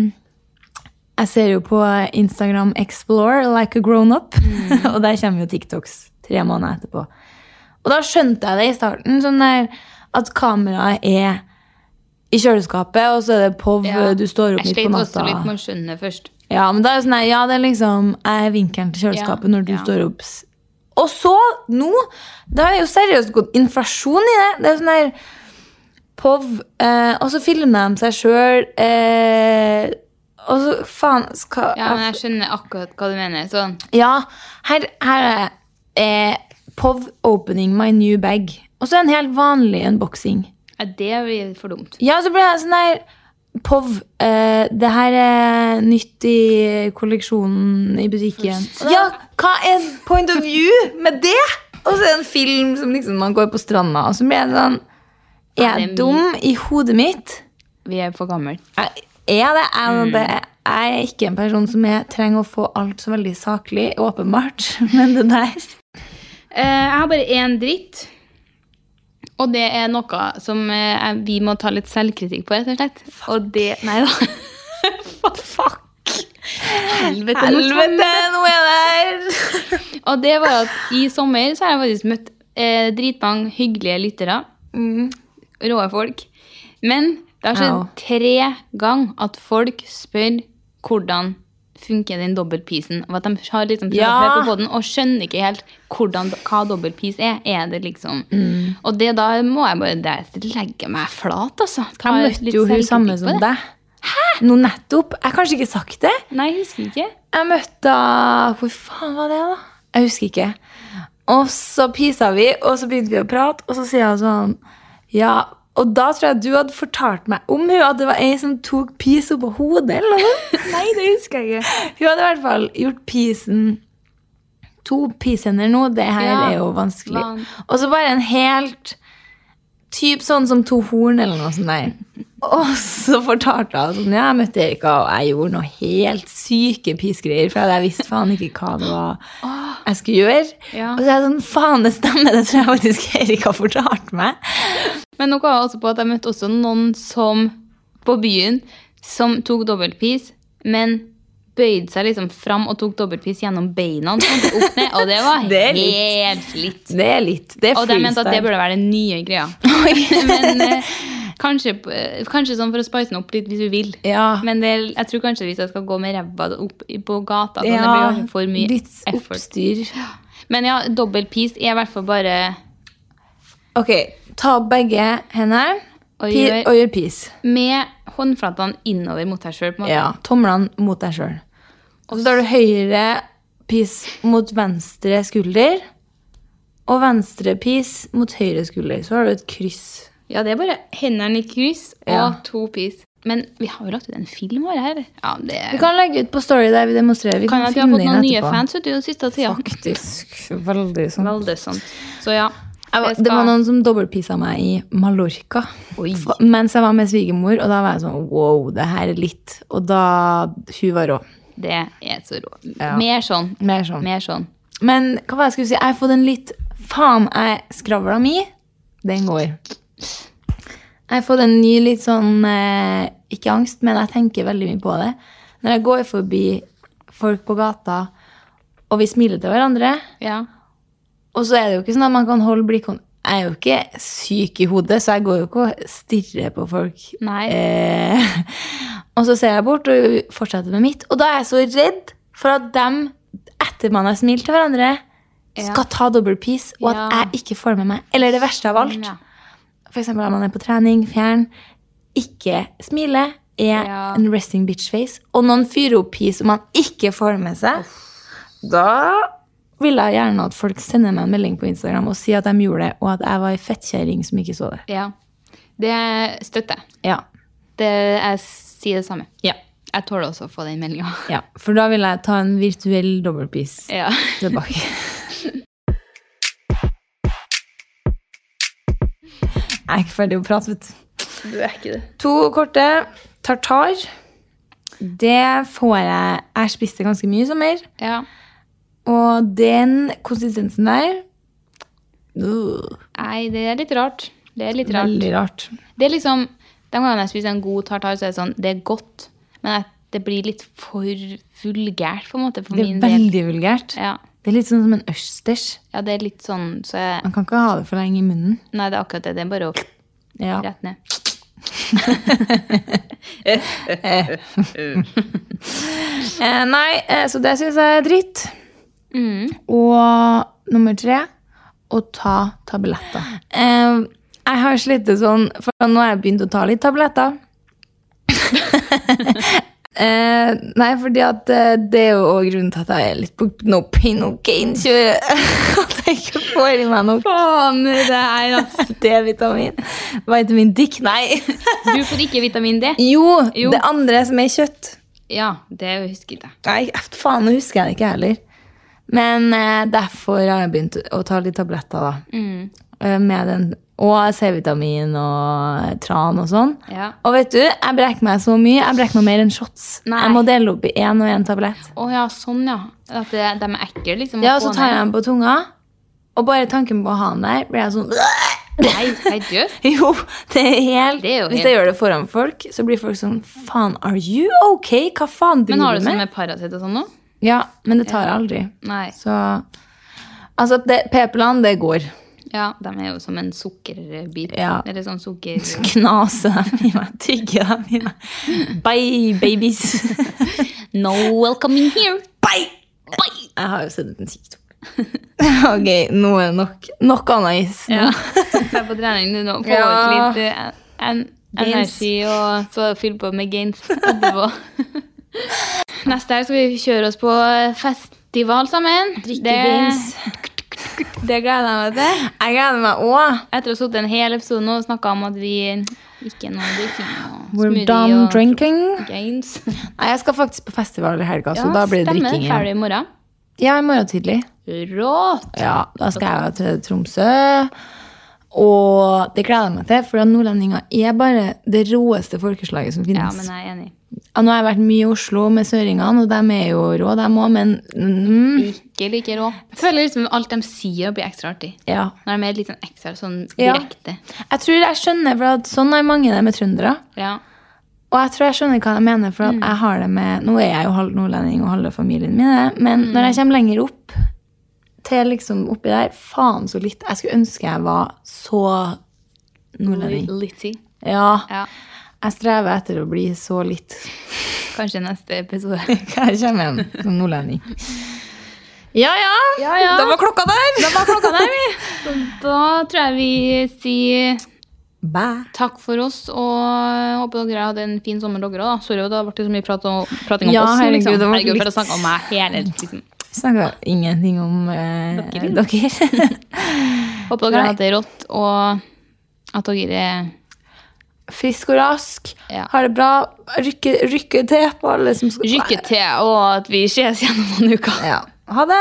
Speaker 4: jeg ser jo på Instagram Explore like a grown-up.
Speaker 3: Mm.
Speaker 4: og der kommer jo TikToks tre måneder etterpå. Og da skjønte jeg det i starten. sånn der, At kameraet er i kjøleskapet, og så er det POV
Speaker 3: Ja.
Speaker 4: du står opp midt
Speaker 3: Jeg
Speaker 4: på
Speaker 3: sleit også
Speaker 4: natta.
Speaker 3: litt med å skjønne først.
Speaker 4: Ja, men da er det sånn her, ja, det er liksom Jeg er vinkelen til kjøleskapet
Speaker 3: Ja,
Speaker 4: når du
Speaker 3: ja.
Speaker 4: står opp. S- Og så, nå, da er det jo seriøst gått inflasjon i det. Det er jo sånn her POV, eh, og så filmer de seg sjøl, eh, og så faen skal,
Speaker 3: Ja, men jeg skjønner akkurat hva du mener. Sånn.
Speaker 4: ja, her, her er eh, POV opening my new bag. Og så en helt vanlig unboxing.
Speaker 3: Ja, det blir for dumt.
Speaker 4: Ja, så ble jeg sånn der POV, eh, det her er nytt i kolleksjonen i butikken. Ja, hva er point of view med det? Og så er det en film som liksom man går på stranda, og så blir jeg sånn Er
Speaker 3: Ja, det
Speaker 4: jeg
Speaker 3: er
Speaker 4: dum i hodet mitt?
Speaker 3: Vi er for gamle.
Speaker 4: Er jeg det? Er
Speaker 3: Mm.
Speaker 4: jeg det? Jeg er ikke en person som jeg trenger å få alt så veldig saklig, åpenbart, men det der
Speaker 3: Eh, jeg har bare én dritt. Og det er noe som eh, jeg- vi må ta litt selvkritikk på, rett og slett. Og det Nei da. Fuck! Helvete. nå fant
Speaker 4: Helvete,
Speaker 3: jeg
Speaker 4: nå er jeg der!
Speaker 3: det. Og det var at i sommer så har jeg faktisk møtt eh, dritmange hyggelige lyttere.
Speaker 4: Mm.
Speaker 3: Rå folk. Men det har skjedd
Speaker 4: Au.
Speaker 3: tre ganger at folk spør hvordan funker den dobbeltpisen. Og at de har liksom prøvd å
Speaker 4: Ja.
Speaker 3: høre på podden og skjønner ikke helt hvordan, hva dobbeltpis er. Er det liksom
Speaker 4: Mm.
Speaker 3: Og det da må jeg bare der, legge meg flat, altså. Ta
Speaker 4: Jeg
Speaker 3: litt
Speaker 4: møtte jo hun
Speaker 3: selvkritikk
Speaker 4: samme
Speaker 3: på
Speaker 4: som
Speaker 3: det.
Speaker 4: deg. Hæ? Nå nettopp. Jeg har kanskje ikke sagt det?
Speaker 3: Nei, jeg husker ikke.
Speaker 4: Jeg møtte da- Hvor faen var det, da? Jeg husker ikke. Og så pisa vi, og så begynte vi å prate, og så sier hun sånn Ja, og da tror jeg du hadde fortalt meg om hun at det var ei som tok pis oppå hodet, eller noe. Nei, det husker jeg ikke. Hun hadde i hvert fall gjort pisen To pishender nå, det her
Speaker 3: Ja,
Speaker 4: er jo vanskelig.
Speaker 3: van-
Speaker 4: Og så bare en helt Typ sånn som to horn eller noe sånt der. Og så fortalte hun sånn, ja, jeg møtte Erika, og jeg gjorde noe helt syke pissgreier, for jeg visste faen ikke hva det var jeg skulle gjøre.
Speaker 3: Ja.
Speaker 4: Og så er jeg sånn, faen, det stemmer, det tror jeg faktisk Erika fortalte meg.
Speaker 3: Men noe var også på at jeg møtte også noen som på byen som tok dobbeltpis, men bøyde seg liksom fram og tok dobbeltpis gjennom beina. Sånn, opp ned, og det var
Speaker 4: Det er litt-
Speaker 3: helt slitt.
Speaker 4: Det er litt, det er
Speaker 3: Og de mente at
Speaker 4: freestyle.
Speaker 3: det burde være den nye greia. Men eh, kanskje, eh, kanskje sånn for å spice den opp litt hvis du vil.
Speaker 4: Ja.
Speaker 3: Men det, er- jeg tror kanskje hvis jeg skal gå med ræva opp i- på gata, sånn, det blir
Speaker 4: Ja,
Speaker 3: kanskje for mye
Speaker 4: litt
Speaker 3: effort.
Speaker 4: oppstyr.
Speaker 3: Men ja, dobbeltpis er i hvert fall bare
Speaker 4: Ok, ta opp begge hendene
Speaker 3: Og
Speaker 4: pi-
Speaker 3: gjør-
Speaker 4: og gjør pis.
Speaker 3: med håndflatene innover mot deg sjøl.
Speaker 4: Ja, tomlene mot deg sjøl. Og så tar du høyre pis mot venstre skulder. Og venstre pis mot høyre skulder. Så har du et kryss.
Speaker 3: Ja, det er bare hendene i kryss og
Speaker 4: Ja.
Speaker 3: to pis. Men vi har jo lagt ut en film vår her. Ja, det
Speaker 4: Vi kan legge ut på Story der vi demonstrerer. Vi
Speaker 3: kan
Speaker 4: kan,
Speaker 3: at vi har
Speaker 4: filme
Speaker 3: fått
Speaker 4: det
Speaker 3: noen
Speaker 4: inn
Speaker 3: nye
Speaker 4: etterpå.
Speaker 3: fans ut i den siste tida.
Speaker 4: Faktisk. Veldig sånn.
Speaker 3: Veldig sant. Så ja. jeg
Speaker 4: Det var
Speaker 3: skal-
Speaker 4: noen som dobbeltpissa meg i Mallorca F- mens jeg var med svigermor. Og da var jeg sånn wow, det her er litt. Og da Hun var rå.
Speaker 3: Det er så rå. Mer sånn.
Speaker 4: Mer sånn.
Speaker 3: Mer sånn.
Speaker 4: Men hva var det jeg skulle si? Jeg har fått en litt Faen, jeg skravla mi, den går. Jeg Jeg har fått en ny litt sånn eh, Ikke angst, men jeg tenker veldig mye på det. Når jeg går forbi folk på gata, og vi smiler til hverandre
Speaker 3: Ja.
Speaker 4: Og så er det jo ikke sånn at man kan holde blikkontakt. Jeg er jo ikke syk i hodet, så jeg går jo ikke og stirrer på folk.
Speaker 3: Nei.
Speaker 4: Eh, og så ser jeg bort og fortsetter med mitt. Og da er jeg så redd for at dem, etter man har smilt til hverandre, skal ta double piece, og at
Speaker 3: Ja.
Speaker 4: jeg ikke får med meg. Eller det verste av alt.
Speaker 3: Ja.
Speaker 4: For eksempel at man er på trening, fjern, ikke smile, er
Speaker 3: Ja.
Speaker 4: en resting bitch face. Og noen fyrer opp pis som man ikke får med seg. Da vil jeg gjerne at folk sender meg en melding på Instagram og sier at de gjorde det, og at jeg var ei fettkjerring som ikke så det.
Speaker 3: ja. Det støtter jeg.
Speaker 4: Ja.
Speaker 3: Det, jeg sier det samme.
Speaker 4: Ja.
Speaker 3: Jeg tåler også å få den meldinga.
Speaker 4: ja. For da vil jeg ta en virtuell double piece
Speaker 3: Ja.
Speaker 4: tilbake. Jeg er ikke ferdig å prate, vet du.
Speaker 3: Du er ikke det.
Speaker 4: To korte. Tartar. Det får jeg Jeg spiste ganske mye i sommer.
Speaker 3: Ja.
Speaker 4: Og den konsistensen der øh,
Speaker 3: Nei, det er litt rart. Det er litt rart.
Speaker 4: Veldig rart.
Speaker 3: Det er liksom, De gangene jeg spiser en god tartar, så er det sånn, det er godt, men at det blir litt for vulgært på en måte for
Speaker 4: Det er
Speaker 3: min del.
Speaker 4: veldig vulgært.
Speaker 3: Ja.
Speaker 4: Det er litt sånn som en østers.
Speaker 3: ja, det er litt sånn så jeg,
Speaker 4: Man kan ikke ha det for lenge i munnen.
Speaker 3: Nei, det er akkurat det. Det er bare å
Speaker 4: Ja.
Speaker 3: rett ned.
Speaker 4: Eh, nei, eh, så det syns jeg er dritt. Mm. Og nummer tre å ta tabletter. Eh, jeg har slitt det sånn, for nå har jeg begynt å ta litt tabletter. eh, nei, fordi at eh, det er jo også grunnen til at jeg er litt på no pain, no gain-kjøret. at jeg ikke får i meg noe Faen, det er D-vitamin. Vitamin Dick, nei.
Speaker 3: Du får ikke vitamin D.
Speaker 4: jo,
Speaker 3: Jo.
Speaker 4: det andre som er kjøtt.
Speaker 3: Ja, det husker jeg.
Speaker 4: Nei, eft- faen, nå husker jeg det ikke heller. Men eh, derfor har jeg begynt å ta litt tabletter, da.
Speaker 3: Mm.
Speaker 4: Eh, Med den, og C-vitamin og tran og sånn.
Speaker 3: Ja.
Speaker 4: Og vet du, jeg brekker meg så mye. Jeg brekker meg mer enn shots.
Speaker 3: Nei.
Speaker 4: Jeg må dele opp i én og én tablett.
Speaker 3: Å ja, sånn, ja. At det, de er ekle, liksom. å
Speaker 4: Ja, og
Speaker 3: få
Speaker 4: så tar jeg
Speaker 3: ned.
Speaker 4: den på tunga. Og bare tanken på å ha den der, blir jeg sånn
Speaker 3: Nei, seriøst?
Speaker 4: Jo, det er helt
Speaker 3: Det er jo
Speaker 4: Hvis
Speaker 3: helt-
Speaker 4: jeg gjør det foran folk, så blir folk sånn Faen, are you okay? Hva faen
Speaker 3: Men
Speaker 4: driver
Speaker 3: har du
Speaker 4: du
Speaker 3: sånn
Speaker 4: med?
Speaker 3: med Paracet og sånn nå?
Speaker 4: Ja, men det tar jeg aldri.
Speaker 3: Nei.
Speaker 4: Så Altså, det- p-pillene, det går.
Speaker 3: Ja, de er jo som en sukkerbit.
Speaker 4: Ja.
Speaker 3: Eller sånn sukker...
Speaker 4: Knase dem i meg, tygge dem i meg. Bye, babies.
Speaker 3: No welcome in here!
Speaker 4: Bye! Jeg har jo sett ut en TikTok. ok, nå er det nok. Nok anais.
Speaker 3: Ja. Jeg er på trening nå. nå, Få
Speaker 4: Ja.
Speaker 3: ut litt eh, en,
Speaker 4: Gains.
Speaker 3: energi og så fylle på med gains etterpå. Neste her skal vi kjøre oss på eh, festival sammen.
Speaker 4: Det...
Speaker 3: Det gleder jeg meg til.
Speaker 4: Jeg gleder meg òg.
Speaker 3: Etter å ha sittet en hel episode nå og snakka om at vi ikke er noe drikking og
Speaker 4: We're
Speaker 3: smoothie
Speaker 4: done
Speaker 3: og
Speaker 4: drinking.
Speaker 3: gains.
Speaker 4: Nei, jeg skal faktisk på festival i helga, så da blir det
Speaker 3: stemmer.
Speaker 4: drikking
Speaker 3: Ferdig
Speaker 4: igjen.
Speaker 3: i morgen.
Speaker 4: Ja, i morgen tidlig.
Speaker 3: Rått!
Speaker 4: Ja, da skal jeg jo til Tromsø. Og det gleder jeg meg til, for nordlendinger er bare det råeste folkeslaget som
Speaker 3: Ja,
Speaker 4: finnes.
Speaker 3: men jeg er enig.
Speaker 4: Ja, nå har jeg vært mye i Oslo med søringene, og de er jo rå, de òg, men mm,
Speaker 3: Ikke like rå. Jeg føler liksom alt de sier, blir ekstra artig.
Speaker 4: ja.
Speaker 3: Når de er litt sånn ekstra sånn
Speaker 4: Ja.
Speaker 3: direkte.
Speaker 4: Jeg tror jeg skjønner, for at sånn er mange det med trøndere.
Speaker 3: Ja.
Speaker 4: Og jeg tror jeg skjønner hva jeg mener, for at jeg har det med Nå er jeg jo halv nordlending og halve familien min, er det, men når jeg kommer lenger opp til liksom oppi der Faen så litt. Jeg skulle ønske jeg var så nordlending.
Speaker 3: Litty.
Speaker 4: Ja.
Speaker 3: Ja.
Speaker 4: Jeg strever etter å bli så litt
Speaker 3: Kanskje neste episode.
Speaker 4: Hva jeg kommer hjem som nordlending. Ja ja, da var klokka der! Da var klokka der, vi.
Speaker 3: Da tror jeg vi sier
Speaker 4: Bye.
Speaker 3: takk for oss, og håper dere hadde en fin sommer, dere òg. Sorry, da ble det så mye prat og, prating om
Speaker 4: Ja,
Speaker 3: oss. nå,
Speaker 4: herregud,
Speaker 3: liksom.
Speaker 4: det var
Speaker 3: herregud, for
Speaker 4: litt-
Speaker 3: å snakke om meg hele liksom.
Speaker 4: Snakka ingenting om eh,
Speaker 3: Dere.
Speaker 4: dere.
Speaker 3: Håper dere hadde det rått, og at dere
Speaker 4: Frisk og rask.
Speaker 3: Ja.
Speaker 4: Ha det bra. Rykke, rykke til på alle som skal
Speaker 3: rykker til, og at vi ses igjen om noen uker.
Speaker 4: Ja. Ha det!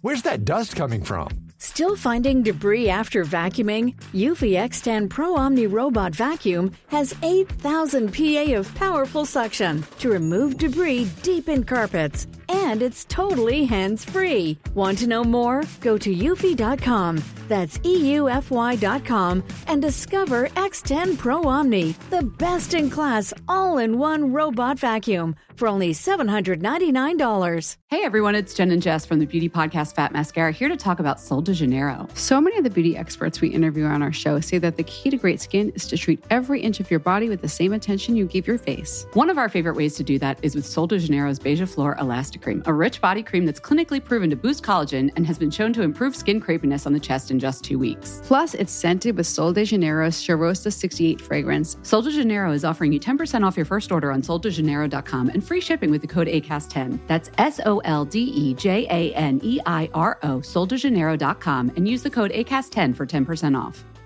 Speaker 6: Where's that dust coming from?
Speaker 7: Still finding debris after vacuuming? Eufy X10 Pro Omni Robot Vacuum has 8,000 PA of powerful suction to remove debris deep in carpets. and it's totally hands free. Want to know more? Go to eufy.com. That's E EUFY.com and discover X10 Pro Omni, the best in class all in one robot vacuum for only $799.
Speaker 1: Hey everyone, it's Jen and Jess from the beauty podcast Fat Mascara here to talk about Sol de Janeiro.
Speaker 8: So many of the beauty experts we interview on our show say that the key to great skin is to treat every inch of your body with the same attention you give your face.
Speaker 1: One of our favorite ways to do that is with Sol de Janeiro's Beija Flor Elastic Cream, a rich body cream that's clinically proven to boost collagen and has been shown to improve skin crepiness on the chest in just two weeks.
Speaker 8: Plus, it's scented with Sol de Janeiro's Charosta 68 fragrance.
Speaker 1: Sol de Janeiro is offering you 10% off your first order on soldejaneiro.com and free shipping with the code ACAST10. That's S O L D E J A N E I R O, soldejaneiro.com, and use the code ACAST10 for 10% off.